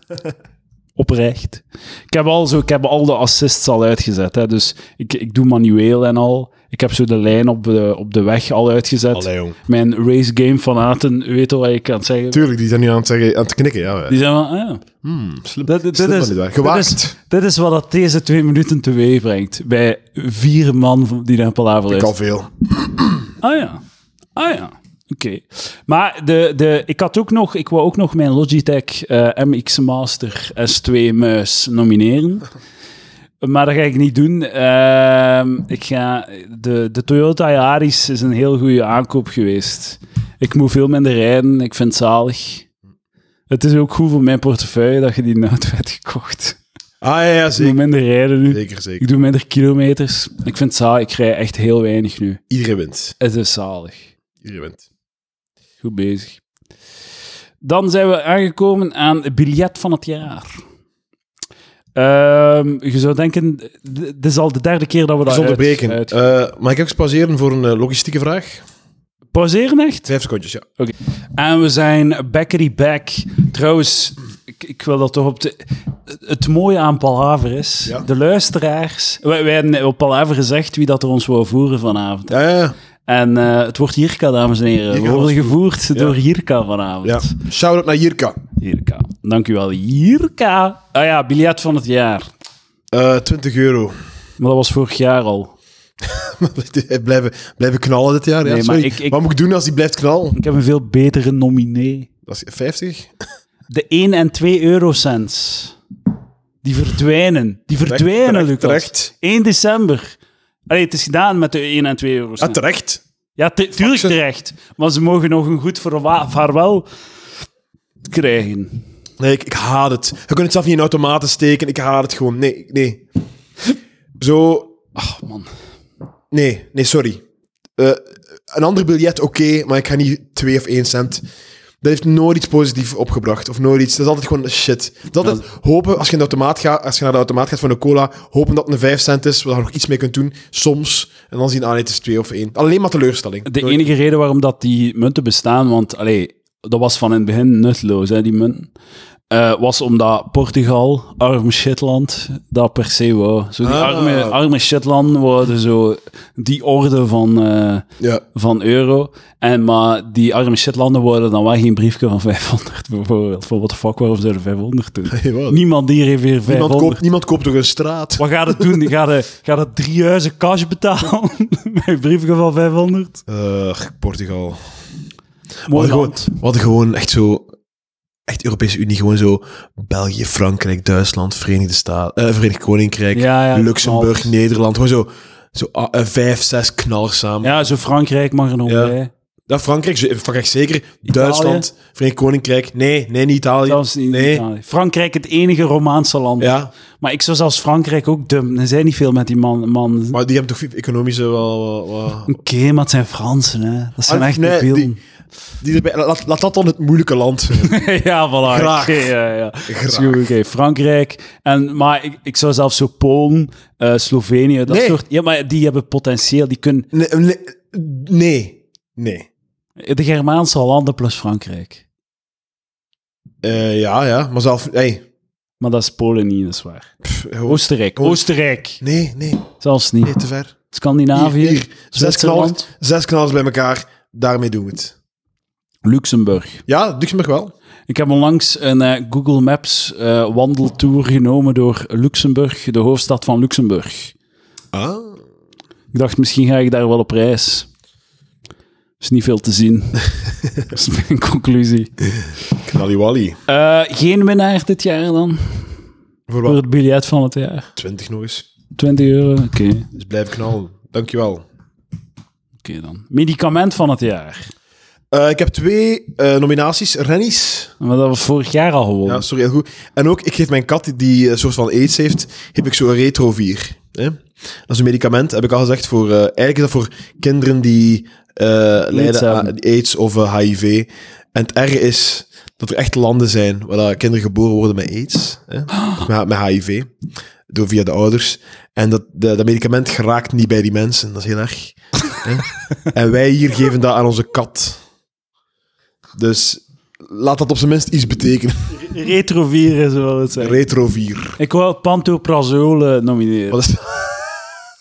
Speaker 1: Oprecht. Ik heb, al zo, ik heb al de assists al uitgezet. Hè. Dus ik, ik doe manueel en al. Ik heb zo de lijn op de, op de weg al uitgezet.
Speaker 2: Allee, jong.
Speaker 1: Mijn race game fanaten weten wat ik aan het zeggen.
Speaker 2: Tuurlijk, Hmm, die zijn nu aan het, zeggen, aan het knikken. Ja,
Speaker 1: Die zijn van, ah,
Speaker 2: slim.
Speaker 1: dit, dit,
Speaker 2: Slim
Speaker 1: is,
Speaker 2: van die daar.
Speaker 1: dit, is,
Speaker 2: Gewaakt.
Speaker 1: dit is wat dat deze twee minuten teweeg brengt. Bij vier man van- die naar Palaver
Speaker 2: Ik
Speaker 1: luisteren.
Speaker 2: al veel.
Speaker 1: Ah ja. Ah ja. Oké. Maar de, de, ik had ook nog, ik wou ook nog mijn Logitech eh, MX Master S2 muis nomineren. Maar dat ga ik niet doen. Ehm, ik ga, de, de Toyota Yaris is een heel goede aankoop geweest. Ik moet veel minder rijden. Ik vind het zalig. Het is ook goed voor mijn portefeuille dat je die nood hebt gekocht.
Speaker 2: Ah ja, ja,
Speaker 1: Ik moet
Speaker 2: zeker.
Speaker 1: minder rijden nu.
Speaker 2: Zeker,
Speaker 1: Ik
Speaker 2: zeker.
Speaker 1: doe minder kilometers. Ik vind het zalig. Ik rij echt heel weinig nu.
Speaker 2: Iedereen wint.
Speaker 1: Het is zalig.
Speaker 2: Iedereen wint.
Speaker 1: Goed bezig. Dan zijn we aangekomen aan het biljet van het jaar. Ehm, je zou denken, d- dit is al de derde keer dat we dat
Speaker 2: Zonder onderbreken.
Speaker 1: uit- uit-
Speaker 2: Eh, mag ik even pauzeren voor een eh, logistieke vraag?
Speaker 1: Pauzeren echt?
Speaker 2: Vijf secondjes, ja.
Speaker 1: En we zijn Bakery Back. Trouwens, ik, ik wil dat toch op de... Het mooie aan Palaver is,
Speaker 2: Ja.
Speaker 1: de luisteraars... Wij, wij hebben op Palaver gezegd wie dat er ons wou voeren vanavond.
Speaker 2: Ja, ja, ja.
Speaker 1: En eh, het wordt Jirka, dames en heren.
Speaker 2: Jirka
Speaker 1: we worden
Speaker 2: was goed.
Speaker 1: gevoerd door Jirka vanavond.
Speaker 2: ja. Shout-out naar Jirka.
Speaker 1: Jirka. Dankjewel, Jirka. Ah ja, biljet van het jaar.
Speaker 2: Eh 20 euro.
Speaker 1: Maar dat was vorig jaar al.
Speaker 2: blijven, blijven knallen dit jaar. Ja,
Speaker 1: Nee, maar
Speaker 2: sorry.
Speaker 1: ik- ik-
Speaker 2: Wat moet ik doen als die blijft knallen?
Speaker 1: Ik heb een veel betere nominee.
Speaker 2: Dat is 50?
Speaker 1: De 1 en 2 eurocents. Die verdwijnen. Die verdwijnen,
Speaker 2: terecht,
Speaker 1: Lucas.
Speaker 2: terecht.
Speaker 1: 1 december. Allee, het is gedaan met de 1 en 2 eurocents.
Speaker 2: Ah, terecht.
Speaker 1: Ja, te- tuurlijk
Speaker 2: ze.
Speaker 1: terecht. Maar ze mogen nog een goed verwa- vaarwel krijgen.
Speaker 2: Nee, ik, ik haat het. Je kunt het zelf niet in automaten steken. Ik haat het gewoon. Nee, nee. Zo... Ah,
Speaker 1: Ach, man.
Speaker 2: Nee, nee, sorry. Eh, een ander biljet, oké, maar ik ga niet twee of één cent. Dat heeft nooit iets positiefs opgebracht. Of nooit iets. Dat is altijd gewoon shit. Dat is altijd hopen, als je, in de automaat gaat, als je naar de automaat gaat voor een cola, hopen dat het een 5 cent is, waar je nog iets mee kunt doen. Soms. En dan zien, ah nee, het is twee of één. Alleen maar teleurstelling.
Speaker 1: De
Speaker 2: Nooit-
Speaker 1: enige reden waarom dat die munten bestaan, want allee, dat was van in het begin nutloos, hè, die munten, eh, was omdat Portugal, arm Shitland, dat per se wou. Zo die
Speaker 2: Ah.
Speaker 1: arme, arme Shitland worden zo die orde van, eh,
Speaker 2: Ja.
Speaker 1: van euro. En, maar die arme Shitlanden worden dan wel geen briefje van 500 bijvoorbeeld. Voor what the fuck, waarom zouden 500 doen?
Speaker 2: Hey, wat?
Speaker 1: Niemand hier heeft weer 500.
Speaker 2: Niemand koopt, niemand koopt door een straat.
Speaker 1: Wat gaat het doen? Gaat het, gaat het drie huizen cash betalen? Mijn briefje van 500?
Speaker 2: Eh, Portugal.
Speaker 1: Mooi
Speaker 2: Wat
Speaker 1: land.
Speaker 2: gewoon, wat gewoon echt zo... Echt Europese Unie, gewoon zo... België, Frankrijk, Duitsland, Verenigde Staten... eh, Verenigd Koninkrijk,
Speaker 1: Ja, ja,
Speaker 2: Luxemburg,
Speaker 1: knalt.
Speaker 2: Nederland. Gewoon zo... Zo ah, eh, vijf, zes knallers samen.
Speaker 1: Ja, zo Frankrijk mag er nog
Speaker 2: Ja.
Speaker 1: bij.
Speaker 2: Ja, Frankrijk, ze- Frankrijk zeker. Duitsland, Verenigd Koninkrijk. Nee, nee, niet Italië.
Speaker 1: Zelfs in
Speaker 2: nee.
Speaker 1: Italië. Frankrijk het enige Romaanse land.
Speaker 2: Ja,
Speaker 1: Maar ik zou zelfs Frankrijk ook dumpen. Er zijn niet veel met die man. man.
Speaker 2: maar die hebben toch economische wel... wel- wel-
Speaker 1: Oké, maar het zijn Fransen, hè. Dat zijn
Speaker 2: Ah,
Speaker 1: echt
Speaker 2: nee,
Speaker 1: debielen.
Speaker 2: die- die erbij- laat, laat dat dan het moeilijke land zijn.
Speaker 1: ja, voilà.
Speaker 2: Graag.
Speaker 1: Oké, ja, ja. Is goed, oké. Frankrijk. En, maar ik, ik zou zelfs zo Polen, eh, Slovenië, dat
Speaker 2: Nee.
Speaker 1: soort... Ja, maar die hebben potentieel. Die kunnen...
Speaker 2: Nee, nee, nee. nee.
Speaker 1: De Germaanse landen plus Frankrijk.
Speaker 2: Eh, ja, ja, maar zelf... Hey,
Speaker 1: Maar dat is Polen niet, dat is waar.
Speaker 2: pff, gewoon-
Speaker 1: Oostenrijk.
Speaker 2: Oost-
Speaker 1: Oostenrijk.
Speaker 2: Nee, nee,
Speaker 1: Zelfs niet.
Speaker 2: nee, te ver.
Speaker 1: Scandinavië.
Speaker 2: Hier, hier. Zes,
Speaker 1: Zwitserland.
Speaker 2: knallers, zes knallers bij elkaar, daarmee doen we het.
Speaker 1: Luxemburg.
Speaker 2: Ja, Luxemburg wel.
Speaker 1: Ik heb onlangs een eh, Google Maps eh, wandeltour genomen door Luxemburg, de hoofdstad van Luxemburg.
Speaker 2: Ah.
Speaker 1: Ik dacht, misschien ga ik daar wel op reis. Is niet veel te zien. dat is mijn conclusie.
Speaker 2: Knalliwalli.
Speaker 1: Eh, geen winnaar dit jaar dan?
Speaker 2: Voor
Speaker 1: Voor
Speaker 2: wat?
Speaker 1: het biljet van het jaar.
Speaker 2: 20 nog eens.
Speaker 1: 20 euro? Oké, oké
Speaker 2: Dus blijf knallen. Dankjewel.
Speaker 1: dan. Medicament van het jaar.
Speaker 2: Eh ik heb twee eh, nominaties. Rennies.
Speaker 1: Maar dat was vorig jaar al gewonnen.
Speaker 2: Ja, sorry, heel goed. En ook, ik geef mijn kat die een soort van aids heeft, heb ik zo'n retrovier. Hè? Dat is een medicament, heb ik al gezegd, voor, eh, eigenlijk is dat voor kinderen die eh, lijden
Speaker 1: hebben.
Speaker 2: aan aids of eh, HIV. En het erge is dat er echt landen zijn waar dat kinderen geboren worden met aids, hè? Of Met, met HIV, door via de ouders. En dat, de- dat medicament geraakt niet bij die mensen, dat is heel erg. hè? En wij hier geven dat aan onze kat. Dus laat dat op zijn minst iets betekenen.
Speaker 1: Retrovirus wil het zijn.
Speaker 2: Retrovier.
Speaker 1: ik wou Pantoprazole nomineren.
Speaker 2: Wat is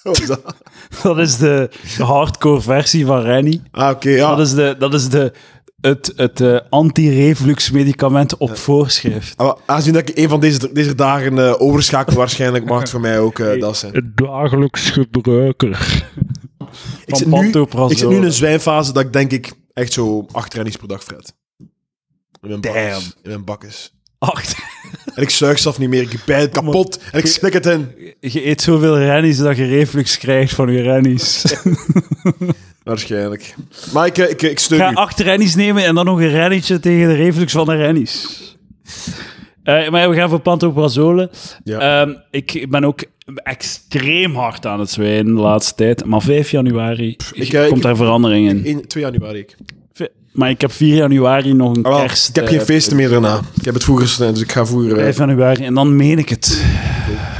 Speaker 2: Wat is dat?
Speaker 1: Dat is de hardcore versie van Rennie.
Speaker 2: Ah, oké, ja.
Speaker 1: Dat is, de, dat is de, het, het eh, anti-reflux-medicament op voorschrift.
Speaker 2: Ah, maar Aangezien dat ik een van deze, deze dagen eh, overschakel, waarschijnlijk mag het voor mij ook eh, dat zijn.
Speaker 1: Het dagelijks gebruiker.
Speaker 2: Ik zit, nu, ik zit nu in een zwijnfase dat ik denk ik echt zo acht rennings per dag fred. In mijn bakkes.
Speaker 1: Damn.
Speaker 2: In mijn bakkes.
Speaker 1: Acht.
Speaker 2: En ik zuig zelf niet meer. Ik bij het kapot. En ik slik het in.
Speaker 1: Je eet zoveel rennies dat je reflux krijgt van je rennies.
Speaker 2: Waarschijnlijk. Maar ik, eh, ik, ik steun
Speaker 1: Ga
Speaker 2: u.
Speaker 1: acht rennies nemen en dan nog een rennetje tegen de reflux van de rennies. Eh, maar ja, we gaan voor Pantoprazole.
Speaker 2: Ja.
Speaker 1: Ehm, ik ben ook extreem hard aan het zwijnen de laatste tijd. Maar 5 januari
Speaker 2: ik, eh,
Speaker 1: komt
Speaker 2: ik-
Speaker 1: daar verandering in.
Speaker 2: 1, 2 januari. Ik,
Speaker 1: Ve- Maar ik heb 4 januari nog een
Speaker 2: Ah, wel,
Speaker 1: kerst.
Speaker 2: ik heb
Speaker 1: eh,
Speaker 2: geen feesten meer daarna. Ik heb het vroeger gesneden, dus ik ga vroeger... eh,
Speaker 1: 5 januari. En dan meen ik het.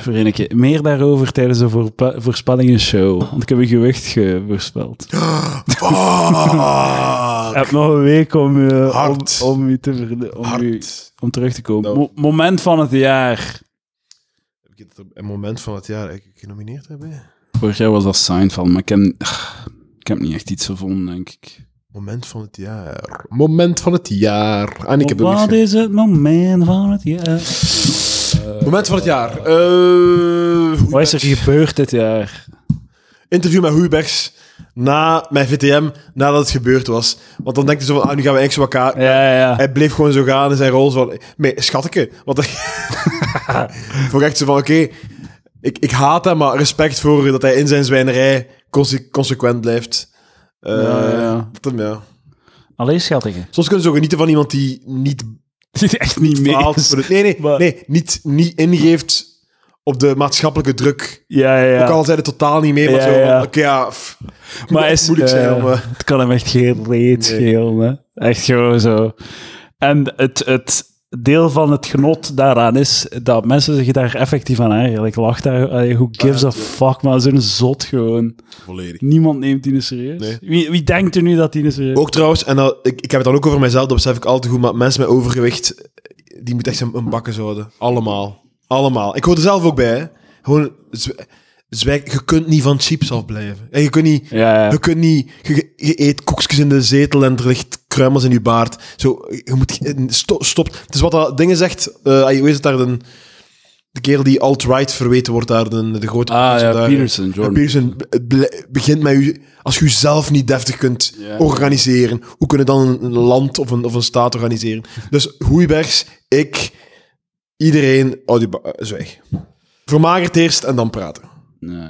Speaker 1: Verin ik je. Meer daarover tijdens de voorpa- voorspellingenshow. Want ik heb een gewicht ge- voorspeld.
Speaker 2: Fuck. Ah,
Speaker 1: Ik heb nog een week om, eh,
Speaker 2: Hard.
Speaker 1: om, om, u te verde- om, u-
Speaker 2: Hard.
Speaker 1: om terug te komen.
Speaker 2: Nou.
Speaker 1: Mo- moment van het jaar.
Speaker 2: Heb ik het op een moment van het jaar dat ik genomineerd heb? hè?
Speaker 1: Vorig jaar was dat Seinfeld, maar ik heb, ik heb niet echt iets gevonden, denk ik.
Speaker 2: Moment van het jaar. Moment van het jaar. Ah, nee, ik heb ook
Speaker 1: Wat
Speaker 2: niks.
Speaker 1: is het moment van het jaar?
Speaker 2: Moment van het jaar. Eh, hoe
Speaker 1: Wat is
Speaker 2: ben-
Speaker 1: er gebeurd dit jaar?
Speaker 2: interview met Hoeibergs na mijn VTM, nadat het gebeurd was. Want dan denkt hij zo van, ah, nu gaan we eigenlijk zo elkaar...
Speaker 1: Ja, ja.
Speaker 2: Hij bleef gewoon zo gaan in zijn rol. Zo van, nee, schatke. Want ik vond ik echt zo van, oké, ik, ik haat hem, maar respect voor dat hij in zijn zwijnerij conse- consequent blijft. Eh,
Speaker 1: Ja, ja.
Speaker 2: dat hem, ja.
Speaker 1: Alleen schattige.
Speaker 2: Soms kunnen ze ook genieten van iemand die niet
Speaker 1: Zit echt niet mee.
Speaker 2: bepaalt. voor de- Nee, nee,
Speaker 1: Maar-
Speaker 2: nee niet, niet ingeeft op de maatschappelijke druk.
Speaker 1: Ja, ja, ja.
Speaker 2: Ook al zijn het totaal niet mee, maar
Speaker 1: Ja,
Speaker 2: zo van,
Speaker 1: ja.
Speaker 2: oké, ja... pff,
Speaker 1: Maar hij is,
Speaker 2: moeilijk zijn
Speaker 1: eh,
Speaker 2: om... eh,
Speaker 1: Het kan hem echt geen reet
Speaker 2: Nee.
Speaker 1: schelen. Hè? Echt gewoon zo. En het, het deel van het genot daaraan is dat mensen zich daar effectief aan ergeren. Ik lach daar, allee,
Speaker 2: Ah,
Speaker 1: who gives a fuck, maar zo'n zot gewoon.
Speaker 2: volledig.
Speaker 1: Niemand neemt die serieus.
Speaker 2: Nee.
Speaker 1: Wie, wie denkt er nu dat die serieus
Speaker 2: Ook trouwens, en dat, ik, ik heb het dan ook over mezelf, dat besef ik altijd goed, maar mensen met overgewicht, die moeten echt een, een bakken houden. Allemaal. Allemaal. Ik hoor er zelf ook bij, hè. Gewoon, zw- zwijk, je kunt niet van chips afblijven. En je kunt niet...
Speaker 1: Ja, ja.
Speaker 2: Je kunt niet... Je, je eet koekjes in de zetel en er ligt kruimels in je baard. Zo, je moet... Stop. stop. Het is wat dat dingen zegt... eh hoe is het daar? De, de kerel die alt-right verweten wordt daar, de, de grote...
Speaker 1: Ah ja,
Speaker 2: daar- Eh,
Speaker 1: Peterson, Jordan.
Speaker 2: ja, Peterson, het ble- begint met u, als je zelf niet deftig kunt
Speaker 1: Ja.
Speaker 2: organiseren, hoe kunnen dan een, een land of een, of een staat organiseren? Dus Hoeibergs, ik, iedereen, oh, die ba- eh, zwijg. Vermager het eerst en dan praten.
Speaker 1: Nee.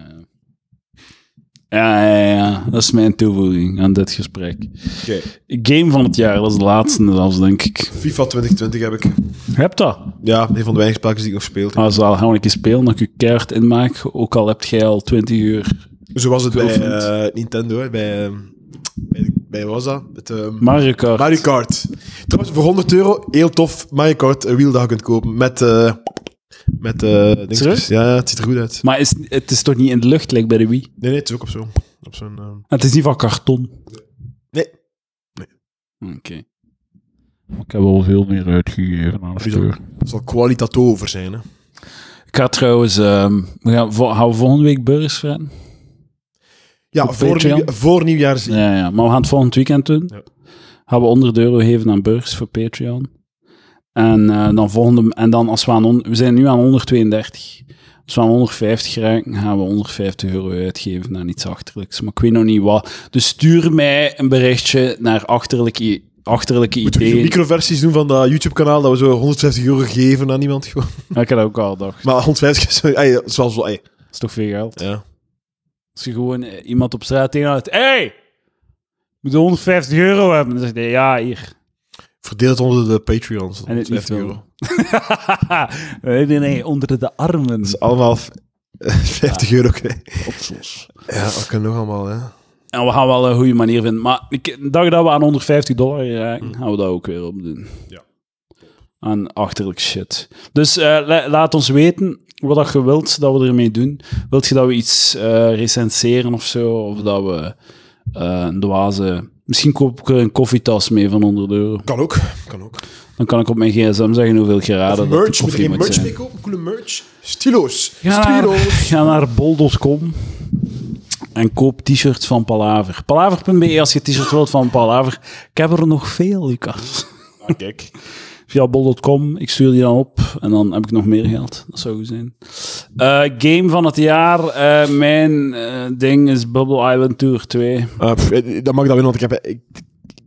Speaker 1: Ja, ja, ja, ja. Dat is mijn toevoeging aan dit gesprek.
Speaker 2: Oké,
Speaker 1: Game van het jaar, dat is de laatste zelfs, denk ik.
Speaker 2: FIFA 2020 heb ik.
Speaker 1: Heb dat?
Speaker 2: Ja, een van de weinig spelletjes die ik nog speelt.
Speaker 1: Ah, zal gaan we een keer spelen, dat ik je keihard inmaak. Ook al heb jij al 20 uur.
Speaker 2: Zo was het bij
Speaker 1: Geoefend.
Speaker 2: eh, Nintendo, hè, bij, eh, bij, bij wat was dat? Het, eh,
Speaker 1: Mario Kart.
Speaker 2: Mario Kart. Trouwens, voor 100 euro, heel tof, Mario Kart een wiel dat je kunt kopen met... eh met eh dingetjes.
Speaker 1: Serieus?
Speaker 2: Ja, ja, het ziet er goed uit.
Speaker 1: Maar is, het is toch niet in de lucht, lijkt bij de Wii?
Speaker 2: Nee, nee, het is ook op zo'n... Op zo'n ehm,
Speaker 1: Het is niet van karton.
Speaker 2: Nee.
Speaker 1: Oké. Ik heb al veel meer uitgegeven aan
Speaker 2: Bizar.
Speaker 1: uur.
Speaker 2: het zal kwalitatief over zijn, hè.
Speaker 1: Ik ga trouwens... ehm, we gaan, vo- gaan we volgende week burgers verrennen?
Speaker 2: Ja,
Speaker 1: Op
Speaker 2: voor,
Speaker 1: Patreon?
Speaker 2: nieuw- voor nieuwjaar zien.
Speaker 1: Ja, ja, maar we gaan het volgend weekend doen.
Speaker 2: Ja.
Speaker 1: Gaan we 100 euro geven aan burgers voor Patreon. En, eh, dan volgende, en dan als we aan... on- we zijn nu aan 132. Als we aan 150 raken, gaan we 150 euro uitgeven aan iets achterlijks. Maar ik weet nog niet wat. Dus stuur mij een berichtje naar achterlijke, i- achterlijke
Speaker 2: Moeten we
Speaker 1: ideeën.
Speaker 2: microversies doen van dat YouTube-kanaal, dat we zo 150 euro geven aan iemand gewoon.
Speaker 1: Ja, Ik heb dat ook al gedacht.
Speaker 2: Maar 150 is wel- ey, dat is wel zo... ey.
Speaker 1: Dat is toch veel geld?
Speaker 2: Ja.
Speaker 1: Als je gewoon eh, iemand op straat tegenhoudt. Hé! Hey! Moet je 150 euro hebben? Dan zegt hij, ja, hier.
Speaker 2: Verdeel het onder de Patreons.
Speaker 1: En het liefst
Speaker 2: 150 euro.
Speaker 1: nee, nee, nee, onder de armen.
Speaker 2: Dus allemaal v- 50 euro krijgen.
Speaker 1: Opsos.
Speaker 2: Ja, dat kunnen nog allemaal, hè.
Speaker 1: En we gaan wel een goede manier vinden. Maar ik, de dag dat we aan 150 dollar raken, gaan we dat ook weer opdoen.
Speaker 2: Mhm. Ja.
Speaker 1: Aan achterlijk shit. Dus eh, la- laat ons weten wat dat je wilt dat we ermee doen. Wilt je dat we iets eh, recenseren of zo? Of dat we eh, een dwaze... Misschien koop ik er een koffietas mee van 100 euro.
Speaker 2: Kan ook. Kan ook.
Speaker 1: Dan kan ik op mijn gsm zeggen hoeveel geraden dat de
Speaker 2: merch. Moet je
Speaker 1: koffie
Speaker 2: geen
Speaker 1: moet
Speaker 2: merch
Speaker 1: zijn.
Speaker 2: meekopen? Coole merch. Stilo's.
Speaker 1: Ga naar,
Speaker 2: Stilo's.
Speaker 1: ga naar bol.com en koop t-shirts van Palaver. Palaver.be als je t-shirt wilt van Palaver. Ik heb er nog veel, Lucas.
Speaker 2: Ah, kijk.
Speaker 1: Via bol.com, ik stuur die dan op en dan heb ik nog meer geld. Dat zou goed zijn. Eh, game van het jaar, eh, mijn eh, ding is Bubble Island Tour 2.
Speaker 2: Eh, pff, eh, dat mag dat winnen, want ik heb, ik,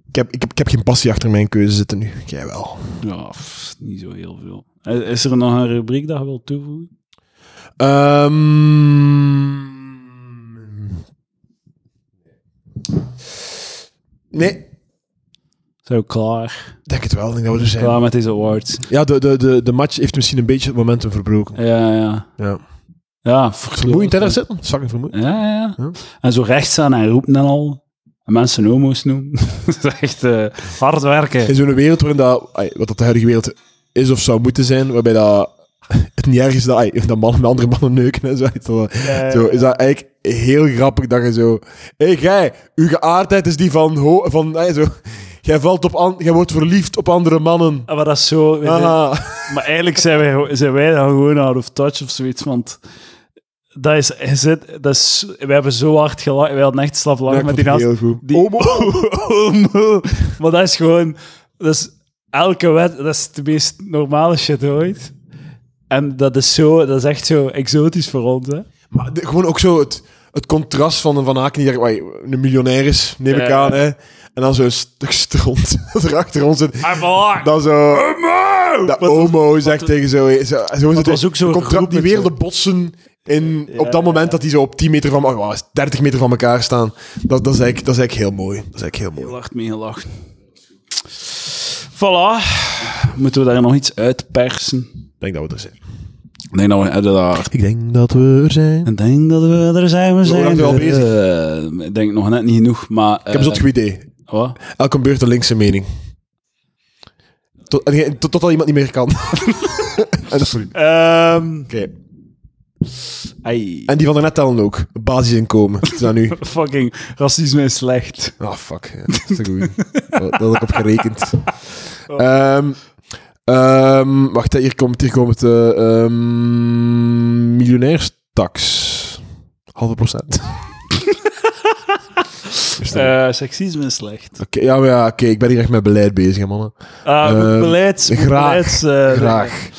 Speaker 2: ik, heb, ik, heb, ik heb geen passie achter mijn keuze zitten nu. Jij wel.
Speaker 1: Ja, pff, niet zo heel veel. Eh, Is er nog een rubriek dat je wilt toevoegen?
Speaker 2: Ehm. nee,
Speaker 1: Zijn we klaar?
Speaker 2: denk het wel. Ik denk dat we er zijn.
Speaker 1: Klaar met deze awards?
Speaker 2: Ja, de, de, de, de match heeft misschien een beetje het momentum verbroken.
Speaker 1: Ja, ja.
Speaker 2: Ja.
Speaker 1: Ja,
Speaker 2: Vermoeiend hè, daar
Speaker 1: verkloot.
Speaker 2: zitten. Zakken vermoeiend.
Speaker 1: Ja, ja,
Speaker 2: Ja.
Speaker 1: ja. En zo recht staan en roepen en al. En mensen homo's noemen. dat is echt eh, hard werken.
Speaker 2: In zo'n wereld waarin dat, ai, wat dat de huidige wereld is of zou moeten zijn, waarbij dat, het niet erg is dat, ai, dat mannen met andere mannen neuken en zo. dat- Zo is dat eigenlijk heel grappig dat je zo... Hé, hey, jij, uw geaardheid is die van... Ho, van hey, zo, jij, valt op an, jij wordt verliefd op andere mannen.
Speaker 1: Maar dat is zo... weet je.
Speaker 2: Haha.
Speaker 1: maar eigenlijk zijn wij, zijn wij dan gewoon out of touch of zoiets, want... Dat is, je zit- dat is, wij hebben zo hard gelachen. Wij hadden echt slap lachen
Speaker 2: Ja, ik
Speaker 1: met
Speaker 2: vond
Speaker 1: die
Speaker 2: het
Speaker 1: naast.
Speaker 2: heel goed.
Speaker 1: Die,
Speaker 2: Homo.
Speaker 1: homo. Maar dat is gewoon... Dat is elke wet... Dat is de meest normale shit ooit. En dat is, zo, dat is echt zo exotisch voor ons, hè.
Speaker 2: Maar de- gewoon ook zo het, het contrast van een Van Aken die daar- wai, een miljonair is, neem ik
Speaker 1: Ja.
Speaker 2: aan. Hè? En dan zo'n stuk stront dat er achter ons zit.
Speaker 1: I'm alive.
Speaker 2: Dan zo... Dat
Speaker 1: Wat-
Speaker 2: homo zegt tegen zo... zo, zo is het
Speaker 1: was ook zo'n groep
Speaker 2: contract die
Speaker 1: met
Speaker 2: weer
Speaker 1: zo-
Speaker 2: de botsen in,
Speaker 1: Ja,
Speaker 2: op dat moment dat die zo op 10 meter van... Oh, wauw, 30 meter van elkaar staan. Dat, dat, is eigenlijk, dat is eigenlijk heel mooi. Dat is eigenlijk heel mooi.
Speaker 1: Heel hard mee gelachen. Voilà. Moeten we daar nog iets uitpersen?
Speaker 2: Ik denk dat we er zijn.
Speaker 1: Ik denk dat we een edit daar-
Speaker 2: Ik denk dat we er zijn.
Speaker 1: Ik denk dat we er zijn. We zijn
Speaker 2: lang zijn we al
Speaker 1: er. Eh, ik denk nog net niet genoeg, maar... eh,
Speaker 2: Ik heb een zot goed idee.
Speaker 1: Wat?
Speaker 2: Elke beurt een linkse mening. Tot, en je- tot, totdat iemand niet meer kan. en, dat is- Oké.
Speaker 1: Ehm, ai.
Speaker 2: en die van daarnet tellen ook. Basisinkomen. Het is dat nu.
Speaker 1: Fucking racisme is slecht.
Speaker 2: Ah, fuck. Ja, dat is een goeie. dat dat had ik op gerekend. Ehm, ehm, wacht, hè, hier komt, hier komt de ehm miljonairstax. Halve procent. Is dat-
Speaker 1: Eh, seksisme is slecht.
Speaker 2: Oké, ja, maar ja, oké, ik ben hier echt met beleid bezig, hè, mannen.
Speaker 1: Ah, moet
Speaker 2: Ehm,
Speaker 1: beleids... moet
Speaker 2: graag,
Speaker 1: beleids, eh,
Speaker 2: Graag.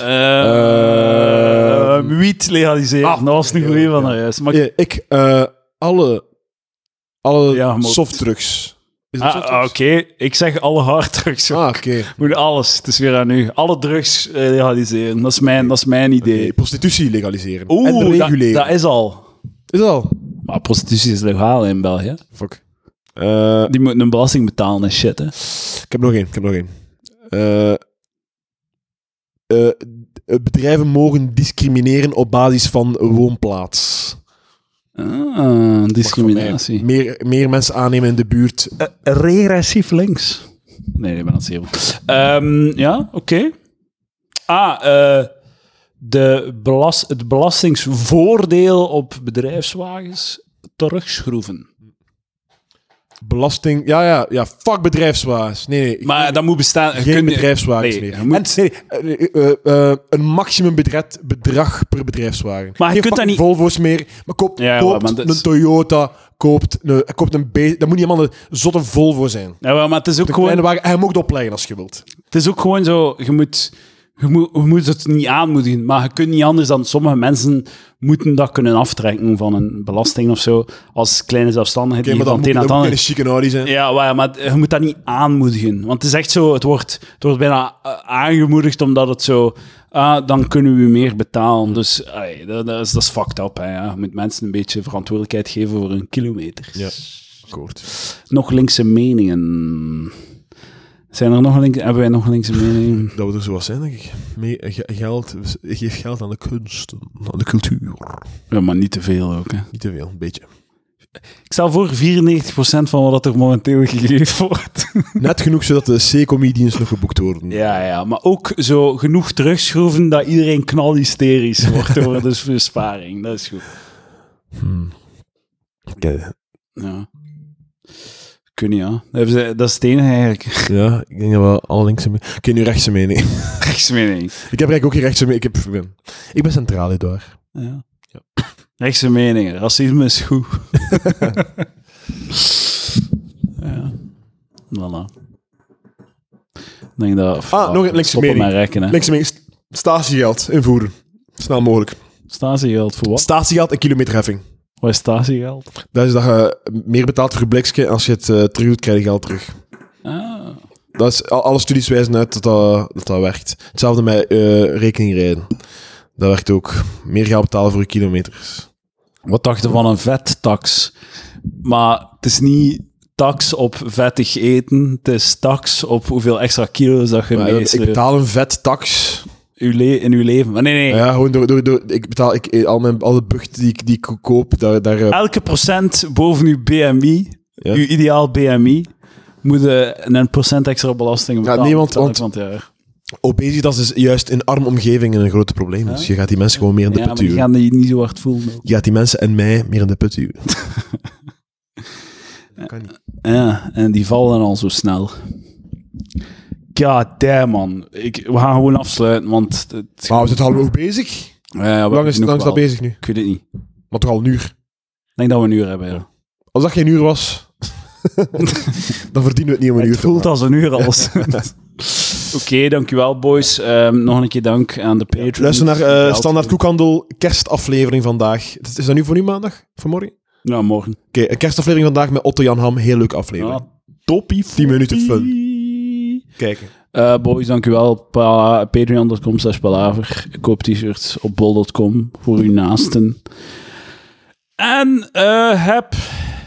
Speaker 1: Eh,
Speaker 2: Ehm,
Speaker 1: wiet legaliseren.
Speaker 2: ah,
Speaker 1: dat was een
Speaker 2: ja,
Speaker 1: goeie van
Speaker 2: ja.
Speaker 1: haar juist. Maar
Speaker 2: Ja, ik, eh, alle, alle
Speaker 1: Ja, maar-
Speaker 2: softdrugs. Is dat
Speaker 1: Ah, Oké,
Speaker 2: softdrugs?
Speaker 1: ik zeg alle harddrugs.
Speaker 2: Ah,
Speaker 1: hoor.
Speaker 2: oké.
Speaker 1: Moet alles, het is weer aan u. Alle drugs eh, legaliseren, dat is mijn, dat is mijn idee.
Speaker 2: Oké, Prostitutie legaliseren. en
Speaker 1: Oeh, dat,
Speaker 2: reguleren.
Speaker 1: dat is al.
Speaker 2: is dat al?
Speaker 1: Maar prostitutie is legaal in België.
Speaker 2: Fuck. Eh,
Speaker 1: Die moeten een belasting betalen en shit, hè.
Speaker 2: ik heb nog één, ik heb nog één. Eh, eh, d- bedrijven mogen discrimineren op basis van woonplaats.
Speaker 1: Ah, discriminatie.
Speaker 2: Meer, meer mensen aannemen in de buurt. Eh,
Speaker 1: regressief links. Nee, ik ben aan het zeven. Ehm, ja, oké. Ah, eh, de belas het belastingsvoordeel op bedrijfswagens terugschroeven.
Speaker 2: belasting. Ja, ja, ja. Fuck bedrijfswagens. Nee, nee. ik-
Speaker 1: Maar dat moet bestaan. je
Speaker 2: Geen
Speaker 1: kunt-
Speaker 2: bedrijfswagens
Speaker 1: nee,
Speaker 2: meer.
Speaker 1: je moet-
Speaker 2: En, nee, nee, eh, eh, eh, een maximum bedred- bedrag per bedrijfswagen.
Speaker 1: Maar je
Speaker 2: Geen
Speaker 1: kunt dat
Speaker 2: fucking Volvo's meer. Maar koop,
Speaker 1: Ja,
Speaker 2: koopt
Speaker 1: maar dat is-
Speaker 2: een Toyota, koopt een, koopt een B. Dat moet niet allemaal een zotte Volvo zijn.
Speaker 1: Ja, wel, maar het is ook
Speaker 2: De
Speaker 1: gewoon,
Speaker 2: kleine wagen. En je mag het opleggen als je wilt.
Speaker 1: het is ook gewoon zo, je moet, je, moet, je moet het niet aanmoedigen, maar je kunt niet anders dan sommige mensen moeten dat kunnen aftrekken van een belasting of zo, als kleine zelfstandige
Speaker 2: Oké,
Speaker 1: die
Speaker 2: maar
Speaker 1: van
Speaker 2: dat
Speaker 1: het
Speaker 2: moet,
Speaker 1: een
Speaker 2: dat
Speaker 1: naar het
Speaker 2: moet
Speaker 1: ander...
Speaker 2: geen chique Audi zijn.
Speaker 1: Ja, maar, maar je moet dat niet aanmoedigen. Want het is echt zo, het wordt, het wordt bijna eh, aangemoedigd omdat het zo... Ah, dan kunnen we u meer betalen. Dus ai, dat, dat is, dat is fucked up. Hè, ja. Je moet mensen een beetje verantwoordelijkheid geven voor hun kilometers.
Speaker 2: Ja. Akkoord.
Speaker 1: Nog linkse meningen. Zijn er nog links, hebben wij nog linkse meningen?
Speaker 2: Dat we er zoals zijn, denk ik. Mee- eh, ge- geld, geef geld aan de kunsten, aan de cultuur.
Speaker 1: Ja, maar niet te veel ook. Hè.
Speaker 2: Niet te veel, een beetje.
Speaker 1: Ik stel voor 94% van wat er momenteel gegeven wordt.
Speaker 2: Net genoeg zodat de C-comedians nog geboekt worden.
Speaker 1: Ja, ja, maar ook zo genoeg terugschroeven dat iedereen knalhysterisch wordt door de versparing. Dat is goed.
Speaker 2: Hmm. Oké.
Speaker 1: Ja. Kun je, ja. Dat hebben ze- Dat is het enige eigenlijk.
Speaker 2: Ja, ik denk dat we alle linkse... me- Oké, nu rechtse mening.
Speaker 1: Rechtsmening.
Speaker 2: Ik heb eigenlijk ook geen rechtse mening. Ik, heb, ik ben- ik ben centraal, Edouard.
Speaker 1: Ja. Rechtse meningen. Racisme is goed. ja. Voilà. Ik denk dat...
Speaker 2: Ah, nog een linkse
Speaker 1: stoppen
Speaker 2: mening.
Speaker 1: met rekken, hè.
Speaker 2: Linkse mening, st- statiegeld invoeren. Snel mogelijk.
Speaker 1: Statiegeld voor wat?
Speaker 2: Statiegeld en kilometerheffing.
Speaker 1: Wat is statiegeld?
Speaker 2: Dat is dat je meer betaalt voor je blikje. Als je het eh, terug doet, krijg je geld terug.
Speaker 1: Ah.
Speaker 2: Dat is, al- alle studies wijzen uit dat dat, dat, dat werkt. Hetzelfde met eh, rekeningrijden. Dat werkt ook. Meer geld betalen voor je kilometers.
Speaker 1: Wat dacht je van een vettax? Maar het is niet tax op vettig eten. Het is tax op hoeveel extra kilo's dat je
Speaker 2: Maar, eh, ik
Speaker 1: meesleurt.
Speaker 2: betaal een vet tax.
Speaker 1: Uw le- In uw leven. Maar nee, nee.
Speaker 2: Ja, gewoon door, door, door ik betaal ik, eh, al mijn, alle bucht die ik, die ik koop, daar, daar eh,
Speaker 1: elke procent boven uw BMI,
Speaker 2: Ja.
Speaker 1: uw ideaal BMI, moet eh, een procent extra belasting betalen.
Speaker 2: nee, want-
Speaker 1: op het
Speaker 2: want-
Speaker 1: einde van het jaar.
Speaker 2: Obesitas is juist in arme omgevingen een groot probleem. Dus je gaat die mensen gewoon meer in de
Speaker 1: ja, maar
Speaker 2: put
Speaker 1: die
Speaker 2: duwen.
Speaker 1: gaan die niet zo hard voelen. ook.
Speaker 2: Je gaat die mensen en mij meer in de put duwen. Dat kan niet.
Speaker 1: Ja, en die vallen al zo snel. God damn, man. Ik, we gaan gewoon afsluiten, want... Het,
Speaker 2: Maar we zitten al hoog bezig.
Speaker 1: Ja, ja, we
Speaker 2: Hoe lang is,
Speaker 1: hebben
Speaker 2: lang is dat
Speaker 1: genoeg
Speaker 2: bezig nu?
Speaker 1: wel. Ik weet het niet.
Speaker 2: Maar toch al een uur.
Speaker 1: Ik denk dat we een uur hebben, ja.
Speaker 2: Als dat geen uur was, dan verdienen we het niet om een
Speaker 1: Het
Speaker 2: uur te
Speaker 1: voelt
Speaker 2: maken.
Speaker 1: als een uur alles. dankjewel boys. Ehm, nog een keer dank aan de Patreon.
Speaker 2: Luister naar eh, Standaard Koekhandel kerstaflevering vandaag. Het Is is dat nu voor nu maandag? Voor morgen? Oké,
Speaker 1: Nou, morgen.
Speaker 2: een kerstaflevering vandaag met Otto Jan Ham. Heel leuke aflevering.
Speaker 1: Ah, toppie.
Speaker 2: 10 minuten fun.
Speaker 1: fun.
Speaker 2: Kijken.
Speaker 1: Eh boys, dankjewel. Pa- Patreon.com slash palaver. Koop t-shirts op bol.com voor uw naasten. En eh, heb...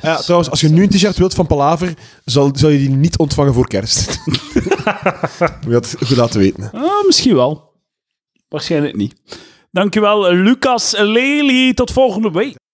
Speaker 2: Ja, trouwens, als je nu een t-shirt wilt van Palaver, zal, zal je die niet ontvangen voor kerst. Moet je dat goed laten weten.
Speaker 1: Ah, misschien wel. Waarschijnlijk niet. Dankjewel, Lucas Lely. Tot volgende week.